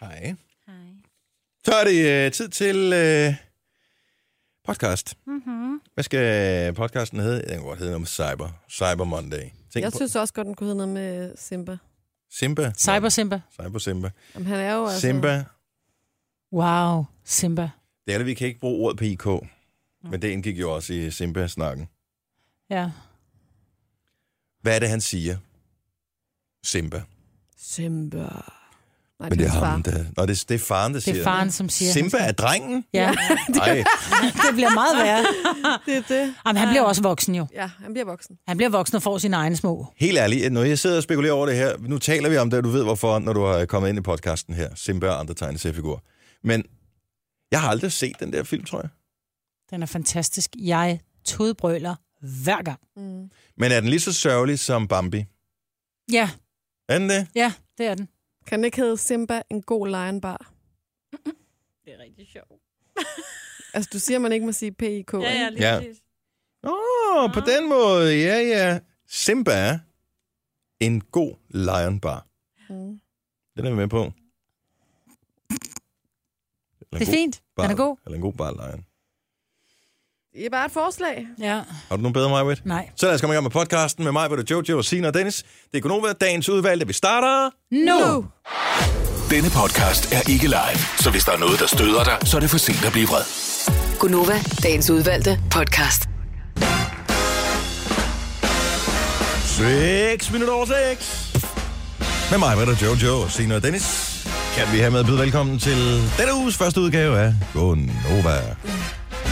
Hej. Hej. Så er det øh, tid til øh, podcast. Mm-hmm. Hvad skal podcasten hedde? Den kan godt hedde noget med Cyber. Cyber Monday. Tænk Jeg på synes også godt, den kunne hedde noget med Simba. Simba. Cyber Simba. Cyber Simba. Jamen, han er jo altså... Simba. Wow, Simba. Det er det, vi kan ikke bruge ordet PIK. Men det indgik jo også i Simba-snakken. Ja. Hvad er det, han siger? Simba. Simba. Nej, Men det er hans ham, der... Nå, det, det er faren, der Det siger er faren, som siger... Simba er drengen? Ja, Nej, det bliver meget værre. Det er det. Jamen, han bliver også voksen jo. Ja, han bliver voksen. Han bliver voksen og får sine egne små. helt ærligt, når jeg sidder og spekulerer over det her, nu taler vi om det, og du ved hvorfor, når du er kommet ind i podcasten her, Simba og andre tegneseriefigurer. Men jeg har aldrig set den der film, tror jeg. Den er fantastisk. Jeg todbrøler hver gang. Mm. Men er den lige så sørgelig som Bambi? Ja, Er den det? ja, det er den. Kan den ikke hedde Simba en god lejenbar? Det er rigtig sjovt. Altså, du siger, man ikke må sige PIK, Ja, ja, ikke? lige Ja. ja. præcis. Åh, oh, på den måde, ja, ja. Simba er en god lion bar. Mm. Den er vi med på. Eller en Det er god fint. bar- Den er god. Eller en god bar lion. Det er bare et forslag. Ja, Har du nogen bedre, Majbrit? nej. Så lad os komme i gang med podcasten med mig, hvor det Jojo, Sina og Dennis. Det er Gunova, dagens udvalgte. Vi starter... Nu! No. Denne podcast er ikke live, så hvis der er noget, der støder dig, så er det for sent at blive vred. Gunova, dagens udvalgte podcast. 6 minutter over 6. Med mig, Britta, Jojo, Sina og Dennis. Kan vi have med at byde velkommen til denne uges første udgave af Gonova.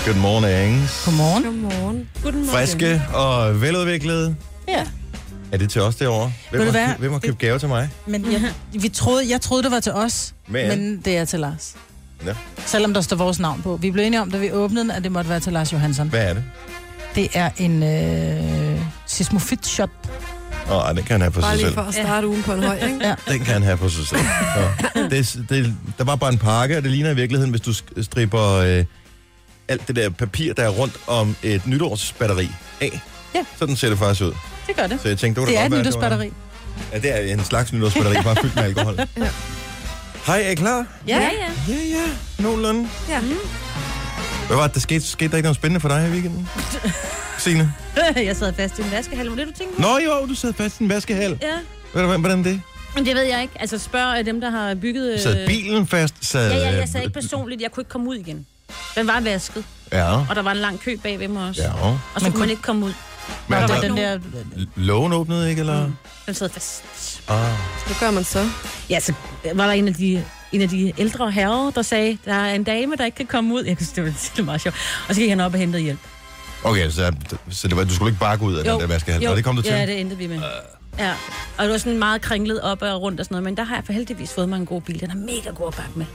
Good morning. Godmorgen. Godmorgen. Friske og veludviklede. Ja. Er det til os derovre? Hvem Ved du har, hvad? kø- hvem har købt gave til mig? Men jeg, vi troede, jeg troede, det var til os, Men- men, men det er til Lars. Ja. Selvom der står vores navn på. Vi blev enige om, da vi åbnede den, at det måtte være til Lars Johansson. Hvad er det? Det er en øh, seismofit-shot. Åh, oh, den kan han have på Bare sig lige selv. for at starte ugen på en høj, ikke? Den kan han have på sig selv. Ja. Det, det, der var bare en pakke, og det ligner i virkeligheden, hvis du sk- stripper øh, alt det der papir, der er rundt om et nytårsbatteri af. Ja. Sådan ser det faktisk ud. Det gør det. Så jeg tænkte, det, Det er et godt være, det nytårsbatteri. Var, ja, det er en slags nytårsbatteri, bare fyldt med alkohol. ja. Hej, er I klar? Ja, ja. Mm. ja. Ja, ja. Nogenlunde. Ja. Hvad var det, der skete? Skete der ikke noget spændende for dig i weekenden? Signe? jeg sad fast i en vaskehalm. Var det, du tænkte på? Nå jo, du sad fast i en vaskehal. Ja. Ved du, hvad- hvordan det? Men det ved jeg ikke. Altså, spørg øh, dem, der har bygget... øh, Sad bilen fast? Sad, Ja, ja, jeg sagde ikke personligt. Jeg kunne ikke komme ud igen. Den var vasket, Ja, og der var en lang kø bag ved mig også. ja. Og så Men kunne man ikke komme ud. Men altså, Og der det var er ikke den der... Lågen åbnede ikke, eller? Mm. Den sad fast. Ah. Hvad gør man så? Ja, så var der en af de, en af de ældre herrer, der sagde, der er en dame, der ikke kan komme ud. Jeg kan det var det var meget sjovt. Og så gik han op og hentede hjælp. Okay, så, så det var, du skulle ikke bare gå ud af den der vaskehal. Jo. Og det kom du til? Øh. Ja, det endte vi med. Ja, og det var sådan meget kringlet op og rundt og sådan noget, men der har jeg for heldigvis fået mig en god bil. Den er mega god at bakke med.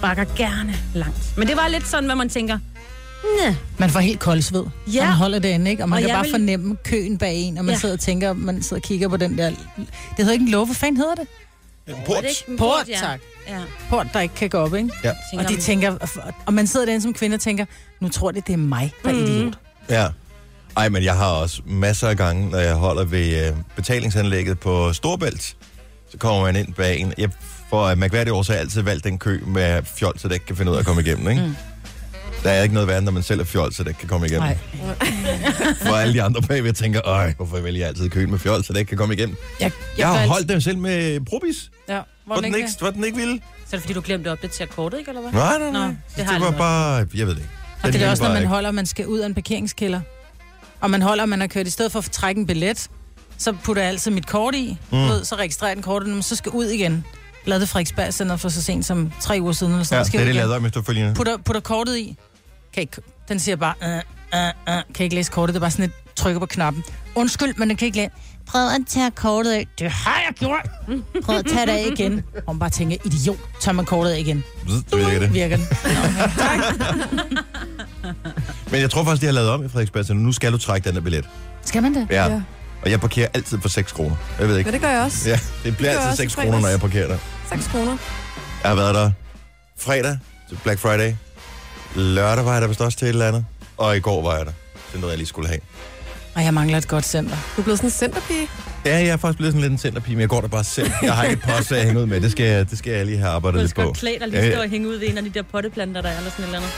Bakker gerne langt. Men det var lidt sådan, hvad man tænker. Næh. Man får helt koldsved. Ja. Ja. Man holder det inde, ikke? Og man Og og kan jeg bare vil- vil... fornemme køen bag en, og man Ja. ja. sidder og tænker, man sidder og kigger på den der... Det hedder ikke en låge, hvad fanden hedder det? Var Port. det ikke en Port, ja. tak. Ja. Port, der ikke kan gå op, ikke? Ja. Tænker, Og de tænker, og man sidder derinde som kvinde og tænker, nu tror de, det er mig, der er idiot. Ja. Ej, men jeg har også masser af gange, når jeg holder ved øh, betalingsanlægget på Storbælt, så kommer man ind bag en. Jeg for øh, mærkværdige år, så har jeg altid valgt den kø med fjol, så det ikke kan finde ud af at komme igennem, ikke? Mm. Der er ikke noget værre, når man selv er fjol, så det ikke kan komme igennem. Nej. For alle de andre bagved tænker, øj, hvorfor vælger jeg altid køen med fjol, så det ikke kan komme igennem? Jeg, Jeg har valgte- holdt dem selv med probis, Ja, hvor hvor den ikke, hvor den ikke ville. Så er det fordi, du glemte at opdatere kortet, ikke? Eller hvad? Nej, nej, nej. Nå, det, det det har jeg var aldrig bare, jeg ved det ikke. Den Og det ville er også, når bare man ikke. holder, man skal ud af en parkeringskælder. Og man holder, man har kørt. I stedet for at trække en billet, så putter jeg altid mit kort i. Mm. Ved, så registrerer jeg den kortet, men så skal ud igen. Lad det Frederiksberg Center for så sent som tre uger siden. Eller sådan. Ja, noget. det skal er det, jeg ud igen. lavede om efterfølgende. putter, putter kortet i. Kan ikke, den siger bare, øh, øh, øh, kan ikke læse kortet. Det er bare sådan et trykker på knappen. Undskyld, men den kan ikke læse. Prøv at tage kortet af. Det har jeg gjort. Prøv at tage det af igen. Og man bare tænker, idiot, tager man kortet af igen. Så virker det. Virker den. Men jeg tror faktisk, de har lavet om i Frederiksberg, så nu skal du trække den der billet. Skal man det? Ja. ja. Ja. Og jeg parkerer altid for 6 kroner. Jeg ved Men ikke. det gør jeg også. Ja, det bliver gør jeg altid også i 6 kroner, når jeg fredags. parkerer der. 6 kroner. Jeg har været der fredag til Black Friday. Lørdag var jeg der vist også til et eller andet. Og i går var jeg der. Det er noget, jeg lige skulle have. Og jeg mangler et godt center. Du er blevet sådan en centerpige. Ja, jeg er faktisk blevet sådan lidt en centerpige, men jeg går der bare selv. Jeg har ikke et post, jeg hænger ud med. Det skal, jeg, det skal jeg lige have arbejdet Du lidt skal på. godt klæde Ja, dig lige ja. stå og hænge ud ved en af de der potteplanter, der er, eller sådan et eller andet.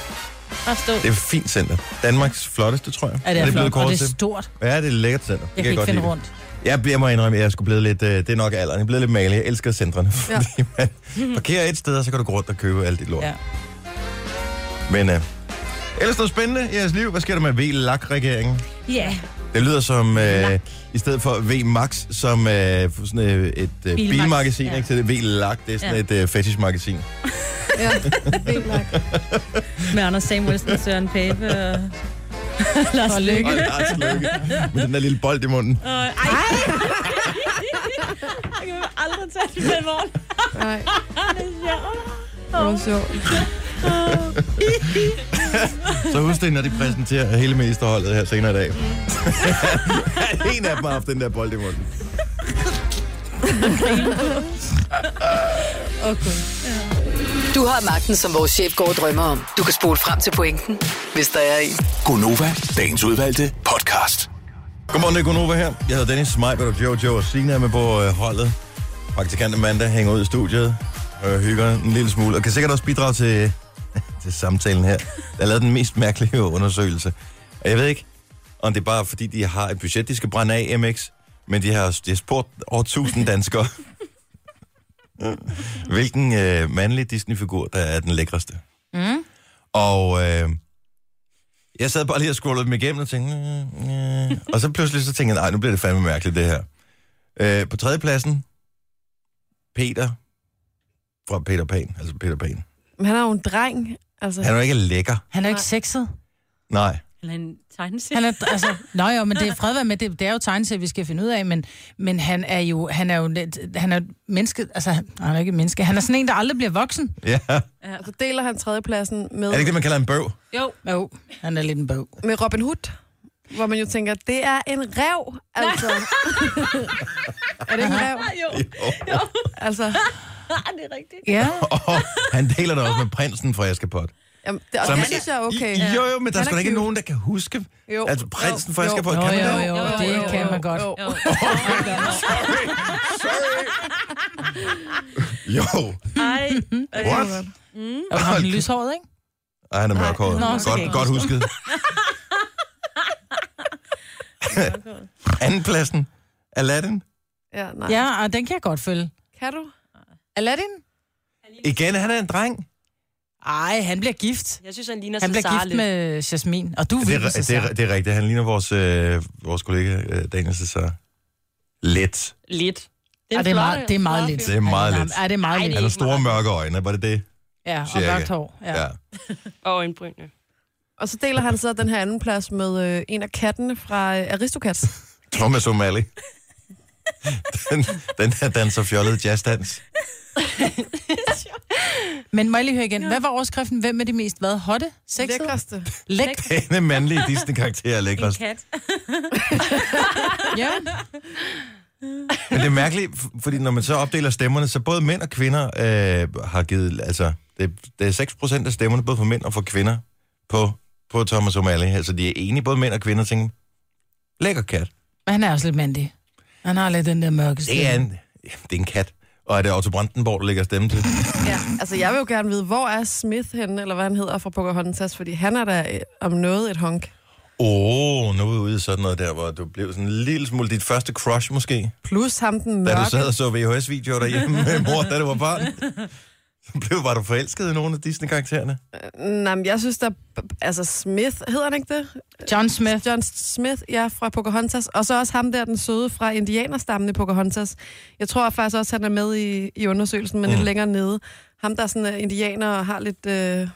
Bare stå. Det er et fint center. Danmarks flotteste, tror jeg. Er det, er blevet flot, og kåret det er til. stort. Ja, det er et lækkert center. Det Jeg kan godt ikke finde lide. rundt. Jeg bliver mig indrømme, at jeg skulle blive lidt, øh, det er nok alderen, jeg er blevet lidt malig. Jeg elsker centrene, Ja. fordi man parkerer et sted, og så kan du gå rundt og købe alt dit lort. Ja. Ja. Men øh, ellers noget spændende i jeres liv. Hvad sker der med V-LAK-regeringen? Ja, Det lyder som, øh, Lak. i stedet for V-Max, som øh, sådan, øh, et øh, Bilmagasin, bilmagasin, ja. ikke? til det V-LAK, det er sådan Ja. et øh, fetishmagasin. Ja, vildt nok. med Anders Samuelsen, Søren Pape og Lars Løkke. Og Lars Løkke med den der lille bold i munden. Og... Ej! Jeg kan aldrig tage det med i morgen. Nej, Det er sjovt. det var sjovt. Så husk det, når de præsenterer hele mesterholdet her senere i dag. en af dem har haft den der bold i munden. Du har magten, som vores chef går og drømmer om. Du kan spole frem til pointen, hvis der er en. Gonova, dagens udvalgte podcast. Godmorgen, det er Gunova her. Jeg hedder Dennis Meibert og Jojo og Sina er med på øh, holdet. Praktikant Amanda hænger ud i studiet og hygger en lille smule. Og kan sikkert også bidrage til, til samtalen her. Der er lavet den mest mærkelige undersøgelse. Og jeg ved ikke, om det er bare fordi, de har et budget, de skal brænde af MX. Men de har, de har spurgt over 1000 danskere. Hvilken øh, mandlig Disney-figur, der er den lækreste. Mm. Og... Øh, jeg sad bare lige og scrollede dem igennem og tænkte... "Mm, øh." Og så pludselig så tænkte jeg, nej, nu bliver det fandme mærkeligt, det her. Øh, på tredjepladsen, Peter fra Peter Pan, altså Peter Pan. Men han er jo en dreng. Altså, Han er jo ikke lækker. Han er jo ikke sexet. Nej. Eller en tegneserie. Han er, altså, nå jo, men det er fred være med, det, det er jo tegneserie, vi skal finde ud af, men, men han er jo, han er jo net, han er menneske, altså han han er ikke et menneske, han er sådan en, der aldrig bliver voksen. Ja. så altså, deler han tredjepladsen med, Er det ikke det, man kalder en bøv? Jo, Jo, han er lidt en bog. med Robin Hood. Hvor man jo tænker, det er en rev, altså. er det ikke en rev? Ah, jo. Altså, Ah, det er rigtigt. Ja, Og han deler det også med prinsen fra Askepot. jamen, det, og Som- det synes jeg er okay. Jo, jo, men der er Han sgu er da ikke cute. nogen, der kan huske. Jo. Altså prinsen fra Jo. Askepot, jo, kan man jo, det? jo, Jo, det jo, kan jo, man godt. Jo. Jo. Ej. What? Og han er lyshåret, ikke? Ej, han er mørkhåret. Nå, så kan jeg Godt, godt ikke husket. Andenpladsen, Aladdin. Ja, nej. Ja, og den kan jeg godt følge. Kan du? Aladdin? Igen, han er en dreng. Ej, han bliver gift. Jeg synes, han ligner Han Cesar bliver gift lidt. med Jasmin, og du Det vil er, det, er, det er rigtigt. Han ligner vores, øh, vores kollega øh, Daniel Cesar. Lidt. Lidt. Det er, det er meget, det er meget lidt. Det er meget lidt. Ja, det er meget Ej, lidt. Han har store mørke øjne, var det det? Ja, og cirka. mørkt hår. Ja. Og øjenbrynene. Og så deler han så den her anden plads med øh, en af kattene fra øh, Aristocats. Thomas O'Malley. den, den her danser fjollet jazzdans. Men må jeg lige høre igen. Hvad var overskriften? Hvem er de mest hvad? Hotte? Sexet? Lækreste. Læk. Denne mandlige Disney-karakter er En lækrest. kat. Ja. Men det er mærkeligt, f- fordi når man så opdeler stemmerne, så både mænd og kvinder øh, har givet, altså, det, det er 6 procent af stemmerne, både for mænd og for kvinder, på, på Thomas O'Malley. Altså, de er enige, både mænd og kvinder, og tænker, lækker kat. Men han er også lidt mandig. Han har lidt den der mørke Det er stemme. en, ja, det er en kat. Og er det Otto Brandenborg, der lægger stemme til? Ja, altså jeg vil jo gerne vide, hvor er Smith henne, eller hvad han hedder fra Pocahontas, fordi han er da øh, om noget et honk. Åh, oh, nu er vi ude i sådan noget der, hvor du blev sådan en lille smule dit første crush måske, Plus ham den da mørke. du sad og så VHS-videoer derhjemme med mor, da du var barn. Så blev, var du forelsket i nogle af Disney-karaktererne? Nej, men jeg synes der... Altså Smith, hedder han ikke det? John Smith. John Smith, ja, fra Pocahontas. Og så også ham der, den søde fra indianerstammen i Pocahontas. Jeg tror faktisk også, han er med i, i undersøgelsen, men mm. lidt længere nede. Ham, der er sådan er indianer og har lidt... Øh, bare Jeg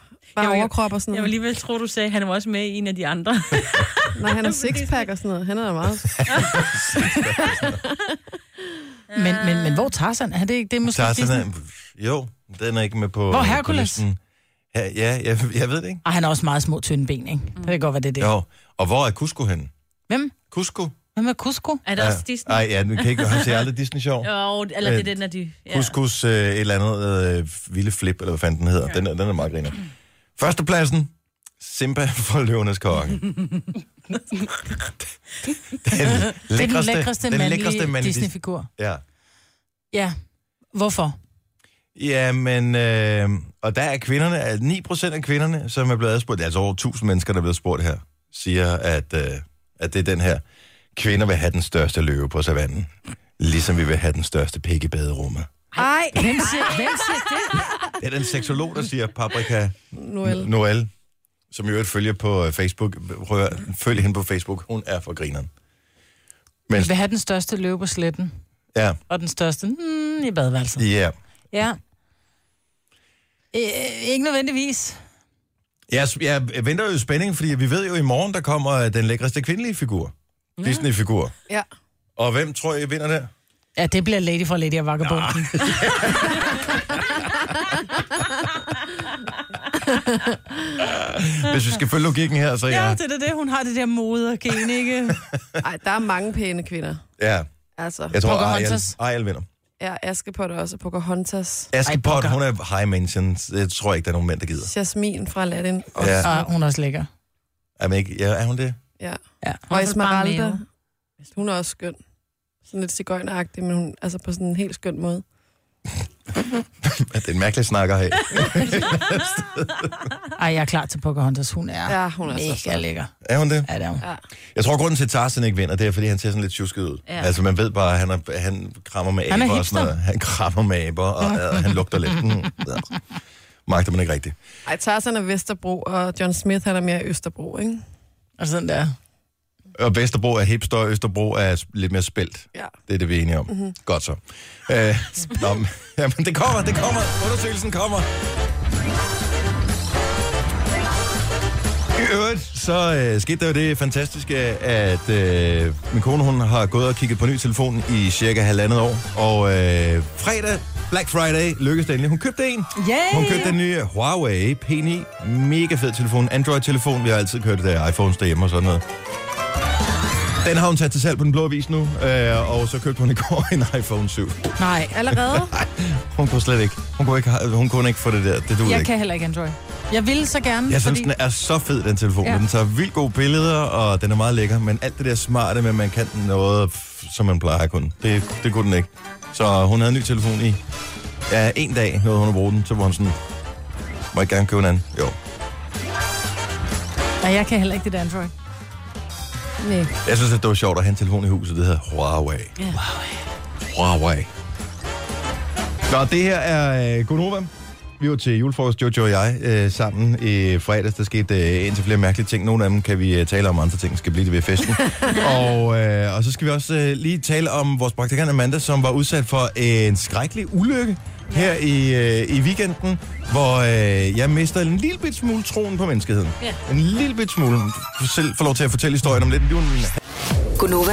vil- overkrop og sådan Jeg vil noget. alligevel tro, du sagde, at han var også med i en af de andre. Nej, han er sixpack og sådan noget. Han er da meget... Men, men, men hvor Tarzan? Er det ikke det er måske Tarzan Disney? er, jo, den er ikke med på... Hvor på er Hercules? listen. Ja, ja jeg, jeg ved det ikke. Ej, han har også meget små tynde ben, ikke? Det kan godt være, det er det. Jo, og hvor er Cusco henne? Hvem? Cusco? Hvem er Cusco? Er det Ja. også Disney? Nej, ja, den kan ikke, han ser aldrig Disney-sjov. Jo, eller det er den, der de... Ja. Couscous, øh, et eller andet øh, vilde flip, eller hvad fanden den hedder. Den, er- den er meget griner. Førstepladsen, Simba fra Løvenes Konge. Den Det er den lækreste, den lækreste mandlige Disney-figur. Ja. Ja. Hvorfor? Ja, men... Øh, og der er kvinderne, at 9% af kvinderne, som er blevet adspurgt, altså over 1000 mennesker, der er blevet spurgt her, siger, at, øh, at det er den her. Kvinder vil have den største løve på savannen. Ligesom vi vil have den største pik i baderummet. Ej, Hvem siger, hvem siger det? Det er den seksolog, der siger Paprika Mm. Noel. Noel, som i øvrigt følger på øh, Facebook. Prøv at høre, følg hende på Facebook. Hun er for grineren. Vi vil have den største løve på sletten, Ja, og den største mm, i badeværelset. ja. Ja. Øh, ikke nødvendigvis. Jeg, jeg venter jo i spænding, fordi vi ved jo i morgen, der kommer øh, den lækreste kvindelige figur. Disney-figur. Ja. Og hvem tror I vinder der? Ja, det bliver Lady for Lady og Vagabunden. Hvis vi skal følge logikken her, så Ja, ja. det er det. Hun har det der modergen, ikke? Ej, der er mange pæne kvinder. ja. Altså, Jeg tror, Ariel, Pocahontas. Ariel vinder. ja, Askepot er også Pocahontas. Askepot, Poca. hun er high mentions. Jeg tror ikke, der er nogen mænd, der gider. Jasmin fra Aladdin. Og, Ja. ja. Og hun er også lækker. Er, man ikke, ja, er hun det? ja. Ja. og så bare Esmeralda. mave. Hun er også skøn. Sådan lidt cigøjneragtig, men hun, altså på sådan en helt skøn måde. Ja, Det er en mærkelig snakker her. Ej, jeg er klar til Pocahontas. Hun er Ja, hun er så mega flot. lækker. Er hun det? Ja, det er hun. Jeg tror, grunden til, at Tarzan ikke vinder, det er, fordi han ser sådan lidt tjusket ud. Ja. Ja. Altså, man ved bare, at han, er, han krammer med Han er aber og sådan hipster. noget. Han krammer med aber, og, og han lugter lidt. Mm, ja. Magter man ikke rigtigt. Ej, Tarzan er Vesterbro, og John Smith, han er mere Østerbro, ikke? Og sådan der. Og Vesterbro er hipster, og Østerbro er s- lidt mere spældt. Ja. Det er det, vi er enige om. Mhm. Mm-hmm. Godt så. Øh, nå, men- jamen, det kommer, det kommer. Undersøgelsen kommer. I øvrigt, så øh, skete der jo det fantastiske, at øh, min kone hun har gået og kigget på ny telefon i cirka halvandet år. Og øh, fredag, Black Friday, lykkedes det endelig. Hun købte en. Yay! Hun købte den nye Huawei P9. Mega fed telefon. Android-telefon. Vi har altid kørt det der iPhones derhjemme og sådan noget. Den har hun sat til salg på den blå avis nu, øh, og så købte hun i går en iPhone 7. Nej, Allerede? Nej, hun kunne slet ikke. Hun kunne ikke, ha- hun kunne ikke få det der. Det duede jeg ikke. kan heller ikke Android. Jeg ville så gerne, Jeg synes, fordi... den er så fed, den telefon. Ja. Ja. Den tager vildt gode billeder, og den er meget lækker. Men alt det der smarte med, at man kan noget, f- som man plejer kun. Det, det kunne den ikke. Så hun havde en ny telefon i ja, en dag, nåede hun at bruge den. Så var hun sådan, må jeg gerne købe en anden? Jo. Nej, jeg kan heller ikke det der Android. Nej. Jeg synes, at det var sjovt at have en telefon i huset. Det hedder Huawei. Ja. Huawei. Nå, det her er øh, Gunova. Vi var til julefrokost, Jojo og jeg, øh, sammen i fredags. Der skete øh, indtil flere mærkelige ting. Nogle af dem kan vi øh, tale om, andre ting skal blive det ved festen. og, øh, og så skal vi også øh, lige tale om vores praktikant Amanda, som var udsat for en skrækkelig ulykke her i, øh, i weekenden, hvor øh, jeg mistede en lille bit smule troen på menneskeheden. Ja. En lille bit smule. Du selv får lov til at fortælle historien om lidt. Du er en Gunova,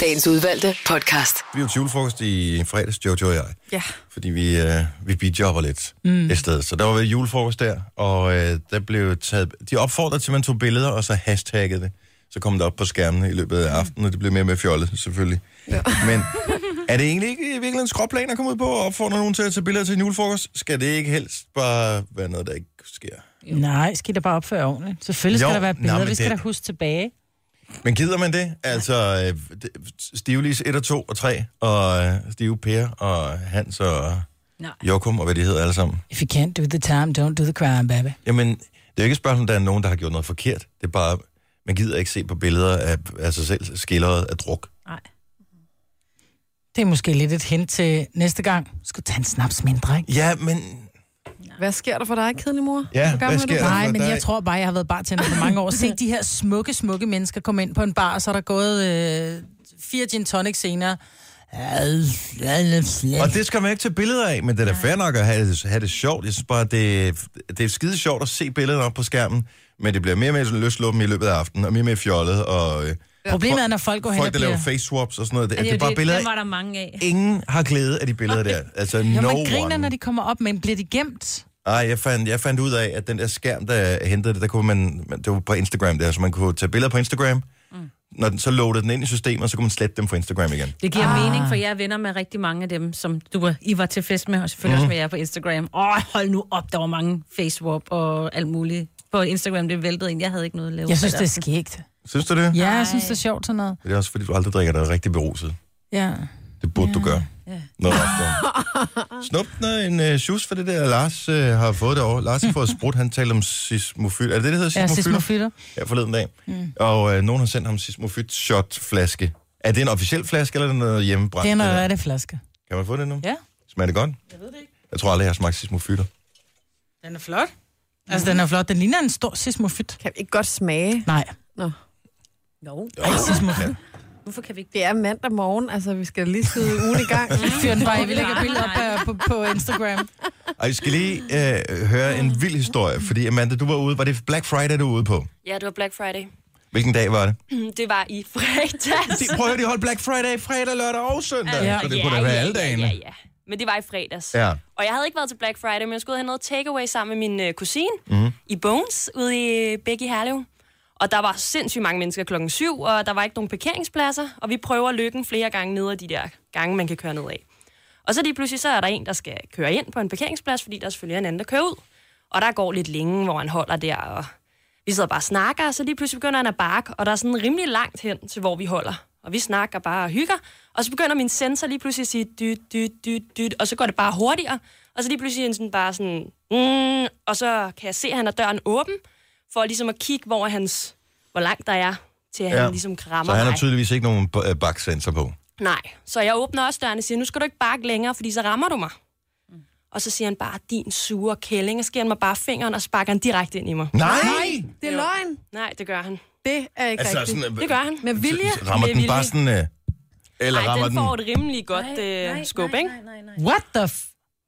dagens udvalgte podcast. vi var til julefrokost i fredags, Jojo og jeg. Ja. Fordi vi, øh, vi bidjobber lidt mm. et sted. Så der var vel julefrokost der, og øh, der blev taget... De opfordrede til, at man tog billeder, og så hashtaggede det. Så kom det op på skærmene i løbet af aftenen, og det blev mere med fjollet, selvfølgelig. Mm. Ja. Men er det egentlig ikke virkelig en skråplan at komme ud på og opfordre nogen til at tage billeder til en julefrokost? Skal det ikke helst bare være noget, der ikke sker? Nej, skal I da bare opføre ordentligt. Selvfølgelig skal Jo, der være nå, billeder. men Vi skal det- da huske tilbage. Men gider man det? Altså, øh, Stivlis 1 og 2 og 3, og øh, Stive Per og Hans og Nej. Jokum og hvad de hedder alle sammen. If you can't do the time, don't do the crime, baby. Jamen, det er jo ikke et spørgsmål, om der er nogen, der har gjort noget forkert. Det er bare, man gider ikke se på billeder af, af sig selv skildret af druk. Nej. Det er måske lidt et hint til næste gang. Skal du tage en snaps mindre, ikke? Ja, men... Hvad sker der for dig, kedelig mor? Ja, Hvor gammel hvad er sker du? der? Nej, for men dig? jeg tror bare, jeg har været bartender for mange år. Se de her smukke, smukke mennesker komme ind på en bar, og så er der gået øh, fire gin tonic senere. Og det skal man ikke tage billeder af, men det er da fair nok at have, det- have det sjovt. Jeg synes bare, det, det er skide sjovt at se billederne op på skærmen, men det bliver mere og mere sådan løsluppen i løbet af aftenen, og mere og mere fjollet, og øh, Problemet er, når folk går hen og folk, der laver bliver... face swaps og sådan noget, det, Ja, det, det er bare billeder, Dem var der mange af. ingen har glæde af de billeder der. Altså, Når no man griner, one. når de kommer op, men bliver de gemt? Ej, jeg fandt, jeg fandt ud af, at den der skærm, der hentede det, der kunne man, man- det var på Instagram der, så man kunne tage billeder på Instagram. Mm. Når den, så loadede den ind i systemet, så kunne man slette dem fra Instagram igen. Det giver ah. mening, for jeg er venner med rigtig mange af dem, som du var, I var til fest med, og selvfølgelig mm. også med jer på Instagram. Åh, hold nu op, der var mange facewap og alt muligt. På Instagram, det væltede ind. Jeg havde ikke noget at lave. Jeg synes, det Altså. er skægt. Synes du det? Ja, Ej. jeg synes, det er sjovt sådan noget. Det er også fordi, du aldrig drikker dig rigtig beruset. Ja. Det burde ja. du gøre. Ja. Nå, ja. Snupner en øh, sjus for det der, Lars øh, har fået det over. Lars har fået sprudt, han talte om sismofyl. Er det det, det hedder Ja, sismofyl? sismofytter. Ja, forleden dag. Mm. Og øh, nogen har sendt ham sismofyt shot flaske. Er det en officiel flaske, eller er det noget hjemmebrændt? Det er der? noget af det flaske. Kan man få det nu? Ja. Smager det godt? Jeg ved det ikke. Jeg tror aldrig, jeg har smagt sismofyter. Den er flot. Altså, den er flot. Den ligner en stor sismofyt. Kan vi ikke godt smage? Nej. Nå. Jo, Jo, ja. hvorfor kan vi ikke Det er mandag morgen, altså vi skal lige sidde ugen i gang. Fyr den bare, jeg vil lægge et billede op øh, på, på Instagram. Og jeg skal lige øh, høre en vild historie, fordi Amanda, du var ude. Var det Black Friday, du var ude på? Ja, det var Black Friday. Hvilken dag var det? Det var i fredags. Se, prøv at høre, de holdt Black Friday fredag, lørdag og søndag. Ja. Så det kunne da være alle dagene. Ja, ja, ja. Men det var i fredags. Ja. Og jeg havde ikke været til Black Friday, men jeg skulle ud og have noget takeaway sammen med min øh, kusine Mhm. mm. i Bones ude i øh, Bæk i Herlev. Og der var sindssygt mange mennesker klokken syv, og der var ikke nogen parkeringspladser, og vi prøver lykken flere gange ned ad de der gange, man kan køre ned af. Og så lige pludselig, så er der en, der skal køre ind på en parkeringsplads, fordi der er selvfølgelig en anden, der kører ud. Og der går lidt længe, hvor han holder der, og vi sidder bare og snakker, og så lige pludselig begynder han at barke, og der er sådan rimelig langt hen til, hvor vi holder. Og vi snakker bare og hygger, og så begynder min sensor lige pludselig at sige dyt, dyt, dyt, dyt, og så går det bare hurtigere, og så lige pludselig er han sådan bare sådan, mm, og så kan jeg se, at han har døren åben, for ligesom at kigge, hvor hans, hvor langt der er, til at ja. Ja. han ligesom krammer Så han har mig. tydeligvis ikke nogen b- øh, baksensor på. Nej, så jeg åbner også døren og siger, nu skal du ikke bakke længere, fordi så rammer du mig. Og så siger han bare, din sure kælling, og så giver han mig bare fingeren og sparker han direkte ind i mig. Nej! Det er løgn. Nej, det gør han. Det er ikke altså, Altså, rigtigt. sådan, øh, Det gør han. Med vilje? så rammer Med den bare vilje. sådan... Øh, eller Nej, rammer den den... får et rimelig godt øh, skub, ikke? Nej, nej, nej. What the f...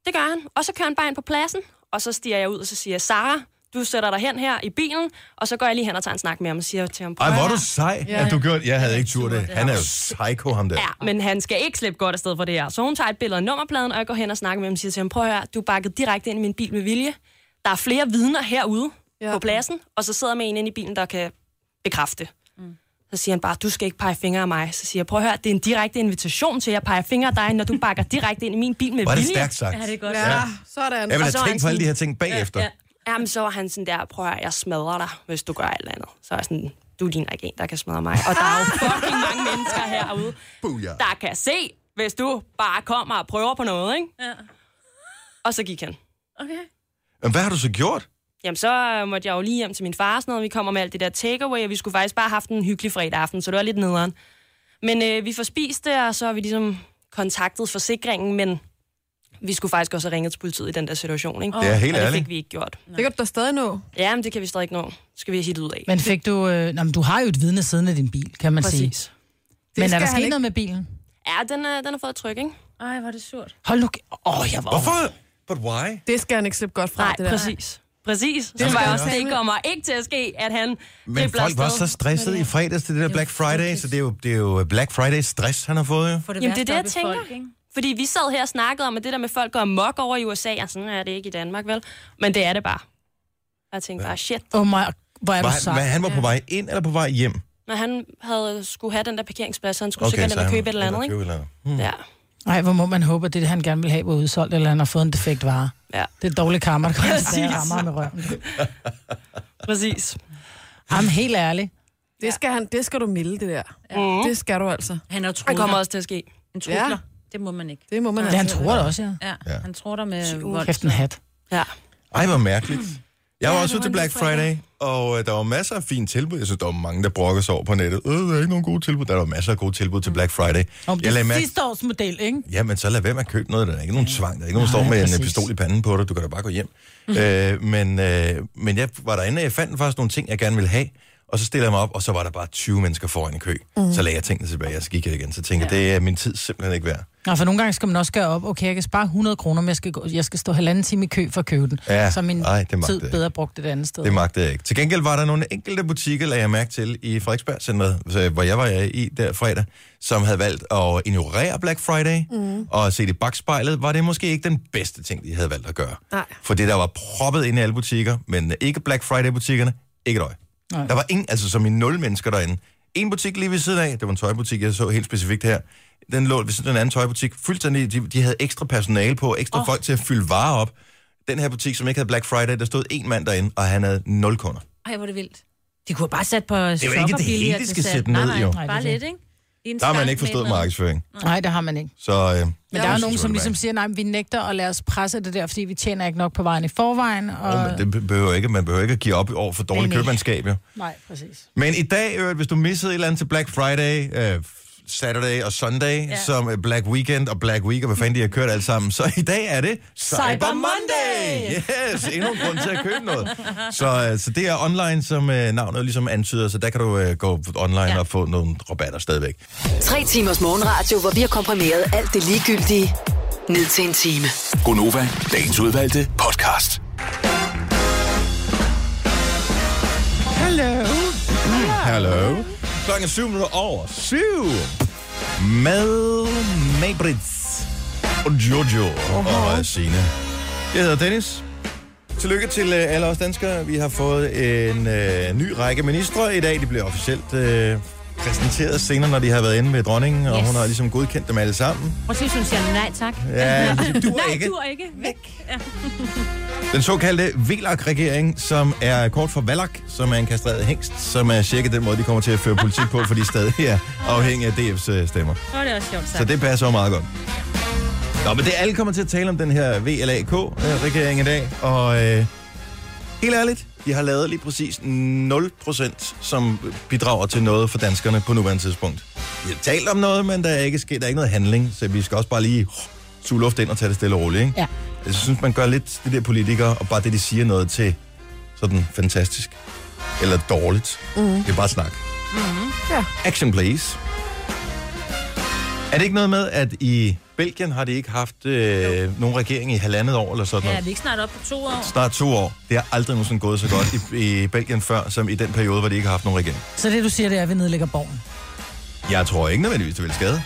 Det gør han. Og så kører han bare ind på pladsen, og så stiger jeg ud, og så siger jeg, Sara, du sætter dig hen her i bilen, og så går jeg lige hen og tager en snak med ham og siger til ham, Ej, "Prøv hvor er her." du sej, ja. at du gjorde Jeg havde ikke tur det. Han er jo psycho, ham der. Ja, men han skal ikke slippe godt afsted for det her. Så hun tager et billede af nummerpladen, og jeg går hen og snakker med ham og siger til ham, prøv at høre, du bakkede direkte ind i min bil med vilje. Der er flere vidner herude Ja. ja. på pladsen, og så sidder man en inde i bilen, der kan bekræfte. Mm. Så siger han bare, du skal ikke pege fingre af mig. Så siger jeg, prøv at høre, det er en direkte invitation til, at jeg peger fingre af dig, når du bakker direkte ind i min bil med Var det vilje. stærkt sagt? Ja, det er godt. Ja, sådan. Jeg vil Og så have er tænkt han på alle de sådan- her ting bagefter. Ja, Jamen, så var han sådan der, prøv at høre, jeg smadrer dig, hvis du gør et eller andet. Så er jeg sådan, du ligner ikke en, der kan smadre mig. Og der er jo fucking mange mennesker herude, Booyah. der kan se, hvis du bare kommer og prøver på noget, ikke? Ja. Og så gik han. Okay. Men hvad har du så gjort? Jamen, så øh, måtte jeg jo lige hjem til min far og sådan noget. Vi kommer med alt det der takeaway, og vi skulle faktisk bare have haft en hyggelig fredag aften, så det var lidt nederen. Men øh, vi får spist det, og så har vi ligesom kontaktet forsikringen, men vi skulle faktisk også have ringet til politiet i den der situation, ikke? Det er helt og det ærligt. fik vi ikke gjort. Det kan du da stadig nå. Ja, men det kan vi stadig ikke nå. Skal vi hitte ud af. Men fik du... Øh... Nå, men du har jo et vidne siden af din bil, kan man sige. Præcis. Men er skal der han sket ikke. noget med bilen? Ja, den, er, den har fået tryk, ikke? Ej, hvor er det surt. Hold nu... k- Åh, jeg var... Hvorfor? But why? Det skal han ikke slippe godt fra, det der. præcis. Præcis. Det skal var jeg jeg også, også. det kommer ikke til at ske, at han Men folk var så stressede i fredags til det der Black Friday, så det er jo, det er jo Black Friday stress, han har fået jo. For det Jamen, det er det, jeg værste op i tænker. folk, ikke? Fordi vi sad her og snakkede om, at det der med folk går mok over i USA, og sådan er det ikke i Danmark, vel? Men det er det bare. Og jeg tænkte bare, shit. Åh, oh my... Hvor er du Var, sej. var, han var på vej ind eller på vej hjem? Når han havde skulle have den der parkeringsplads, så han skulle sikkert ind og købe et eller andet, ikke? Købe et eller andet. Ja. Nej, hvor må man håbe, at det, han gerne vil have, var udsolgt, eller han har fået en defekt vare. Ja, Det er dårlig karma, der kommer Præcis. tilbage og rammer ham med røven. præcis. Jamen, helt ærligt. Det skal, han, det skal du melde, det der. Mm. Det skal du altså. Han er jo Det trusler. kommer også til at ske. Han trusler. Ja. Ja. Det må man ikke. Det må man Det han altså. tror det også, ja. Ja, Ja. ja. han tror dig med vold. Kæft en hat. Ja. Ej, hvor mærkeligt. Jeg var Ja, også det ude var til en Black god fredag. Friday, og øh, der var masser af fine tilbud. Jeg synes, der var mange, der brokkede sig over på nettet. Øh, der er ikke nogen gode tilbud. Der var masser af gode tilbud til Black Friday. Om Jeg lagde det mærke, sidste års model, ikke? jamen så lad være med at købe noget. Der er ikke nogen tvang. Der er ikke nogen, der står Nej, med en præcis. Mm. øh, pistol i panden på dig. Du kan da bare gå hjem. øh, men, øh, men jeg var derinde, og jeg fandt faktisk nogle ting, jeg gerne ville have. Og så stiller jeg mig op, og så var der bare 20 mennesker foran i kø. Mm. Så lagde jeg tingene tilbage, og så gik jeg igen. Så tænkte jeg, det er min tid simpelthen ikke værd. Nå, for nogle gange skal man også gøre op, okay, jeg kan spare 100 kroner, men jeg skal, gå, jeg skal stå halvanden time i kø for at købe den. Ja, så er min ej, det magter jeg tid ikke. bedre brugt et andet sted. Det magtede jeg ikke. Til gengæld var der nogle enkelte butikker, lagde jeg mærke til, i Frederiksberg Centeret, hvor jeg var i der fredag, som havde valgt at ignorere Black Friday, mm. og set i bagspejlet, var det måske ikke den bedste ting, de havde valgt at gøre. Nej. For det der var proppet ind i alle butikker, men ikke Black Friday-butikkerne, ikke et øje. Nej. Der var ingen, altså som i nul mennesker derinde. En butik lige ved siden af, det var en tøjbutik, jeg så helt specifikt her, den lå ved siden af en anden tøjbutik, fuldstændig, de, de havde ekstra personale på, ekstra oh. folk til at fylde varer op. Den her butik, som ikke havde Black Friday, der stod en mand derinde, og han havde nul kunder. Ej, hvor er det vildt. De kunne have bare sætte på Det er jo ikke det hele, de skal sætte nej, ned, nej, jo. Nej, bare Nej, det er lidt, ikke? I en Der har man stang ikke forstået med noget. markedsføring. Nej, det har man ikke. Så, øh, Men det der er jo synes nogen, jeg, som det ligesom siger, nej, men vi nægter at lade os presse af det der, fordi vi tjener ikke nok på vejen i forvejen. Og... Åh, men det be- behøver ikke, man behøver ikke at give op over for dårlig Nej, nej. købmandskab, jo. Nej, præcis. Men i dag, øh, hvis du missede et eller andet til Black Friday, øh, Saturday og Sunday, ja. som øh, Black Weekend og Black Week, og hvad fanden de har kørt alt sammen, så i dag er det Cyber Cyber Monday! Yes, endnu en grund til at købe noget. Så, øh, så det er online, som øh, navnet ligesom antyder, så der kan du øh, gå online ja. og få nogle rabatter stadigvæk. Tre timers morgenradio, hvor vi har komprimeret alt det ligegyldige ned til en time. Gonova, dagens udvalgte podcast. Hello. Hallo. Klokken er syv minutter over syv. Med Mabrits og Jojo og Signe. Jeg hedder Dennis. Tillykke til øh, alle os danskere. Vi har fået en øh, ny række ministre i dag. De bliver officielt øh, præsenteret senere, når de har været inde med dronningen, og Yes. hun har ligesom godkendt dem alle sammen. Prøv at sige, synes jeg, nej tak. Ja, det duer nej, ikke. du er ikke. Væk. Den såkaldte VLAK-regering, som er kort for Valak, som er en kastreret hængst, som er cirka den måde, de kommer til at føre politik på, for de stadig er afhængige af DF's øh, stemmer. Så er det også sjovt Så sagt. det passer jo meget godt. Nå, men det alle kommer til at tale om den her VLAK-regering i dag, og øh, helt ærligt, de har lavet lige præcis 0%, som bidrager til noget for danskerne på nuværende tidspunkt. De har talt om noget, men der er ikke sket, der er ikke noget handling, så vi skal også bare lige uh, suge luft ind og tage det stille og roligt, ikke? Ja. Jeg synes, man gør lidt de der politikere, og bare det, de siger noget til sådan fantastisk eller dårligt. Mm. Det er bare snak. Mm. Ja. Action, please. Er det ikke noget med, at i Belgien har de ikke haft øh, nogen regering i halvandet år eller sådan Ja, noget? er vi ikke snart oppe på to år? Snart to år. Det har aldrig nogensinde gået så godt i, i Belgien før, som i den periode, hvor de ikke har haft nogen regering. Så det, du siger, det er, at vi nedlægger borgen. Jeg tror ikke nødvendigvis, det vil skade.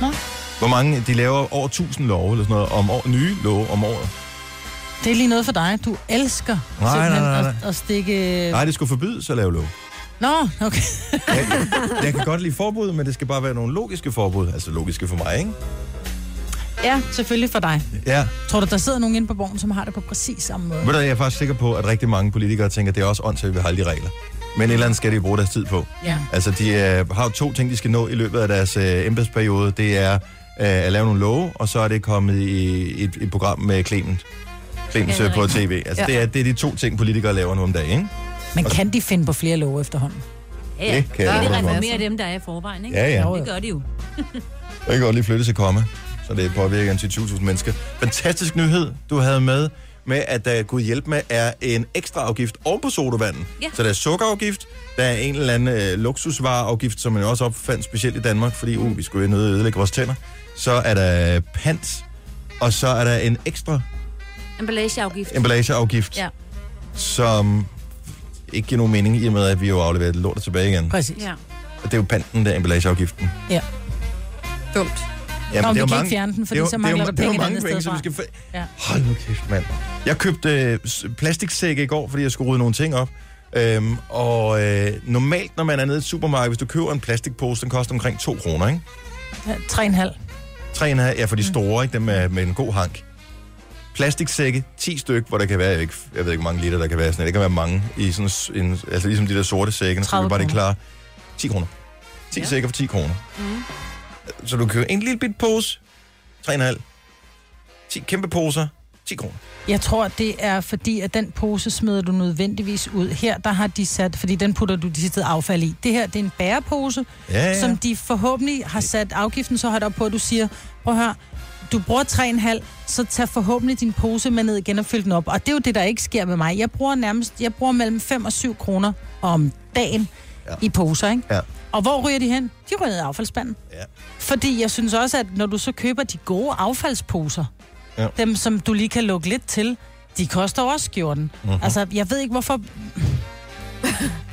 Nå. Hvor mange, de laver over 1000 love eller sådan noget, om år, nye love om året. Det er lige noget for dig. Du elsker Nej, simpelthen nej, nej, At, at stikke... Nej, det skulle forbydes at lave love. Nå, okay. Jeg, jeg kan godt lide forbud, men det skal bare være nogle logiske forbud. Altså logiske for mig, ikke? Ja, selvfølgelig for dig. Ja. Tror du, der sidder nogen inde på borgen, som har det på præcis samme måde? Ved du, jeg er faktisk sikker på, at rigtig mange politikere tænker, at det er også åndssvagt, at vi har alle de regler. Men et eller andet skal de bruge deres tid på. Ja. Altså, de øh, har jo to ting, de skal nå i løbet af deres øh, embedsperiode. Det er øh, at lave nogle love, og så er det kommet i et, et program med Clement. Clemens øh, på tv. Altså, ja. det, er, det er de to ting, politikere laver nu om dagen, ikke? Men Altså- kan de finde på flere love efterhånden? Ja, Det kan jeg det love dig for. reformerer dem, der er i forvejen, ikke? Ja, ja. Jo, jo. Det gør de jo. Jeg kan godt lige flytte til komme, så det påvirker en til 20.000 mennesker. Fantastisk nyhed, du havde med, med at der, Gud hjælp med, er en ekstra afgift oven på sodavanden. Ja. Så der er sukkerafgift, der er en eller anden øh, luksusvareafgift, som man jo også opfandt specielt i Danmark, fordi uh, vi skulle jo nødt ødelægge vores tænder. Så er der pant, og så er der en ekstra Emballageafgift. emballageafgift, Ja. som ikke giver nogen mening, i og med, at vi jo afleverer lortet tilbage igen. Præcis. Ja. Og det er jo panten, der er emballageafgiften. Ja. Dumt. Ja, Nå, men men det er vi jo kan mange- ikke fjerne den, det fordi er jo- så det er mangler jo- der det er jo penge et mange andet penge, sted som vi fra. skal... fa- Ja. Hold nu kæft, mand. Jeg købte øh, s- plastiksække i går, fordi jeg skulle rydde nogle ting op. Øhm, og øh, normalt, når man er nede i et supermarked, hvis du køber en plastikpose, den koster omkring 2 kroner, ikke? Ja, Tre og en halv. 3,5 er for de store, ikke? Dem med, med en god hank. Plastiksække, 10 styk, hvor der kan være, jeg, ikke, jeg ved ikke, hvor mange liter der kan være, sådan, noget. det kan være mange, i sådan s- en, altså ligesom de der sorte sække, så 30 vi bare det kroner. klare. 10 kroner. 10 ja. sækker for 10 kroner. Mm. Så du køber en lille bit pose, 3,5. 10 kæmpe poser, 10 kroner. Jeg tror, det er fordi, at den pose smider du nødvendigvis ud. Her, der har de sat, fordi den putter du de sidste affald i. Det her, det er en bærepose, Ja, ja. som de forhåbentlig har sat afgiften så højt op på, at du siger, prøv at høre, du bruger 3,5, så tag forhåbentlig din pose med ned igen og fyld den op. Og det er jo det, der ikke sker med mig. Jeg bruger nærmest, jeg bruger mellem 5 og 7 kroner om dagen Ja. ja. i poser, ikke? Ja. Og hvor ryger de hen? De ryger ned i affaldsspanden. Ja. Fordi jeg synes også, at når du så køber de gode affaldsposer, Ja. ja. dem som du lige kan lukke lidt til, de koster jo også skjorten. Mhm. Mm-hmm. Altså, jeg ved ikke, hvorfor...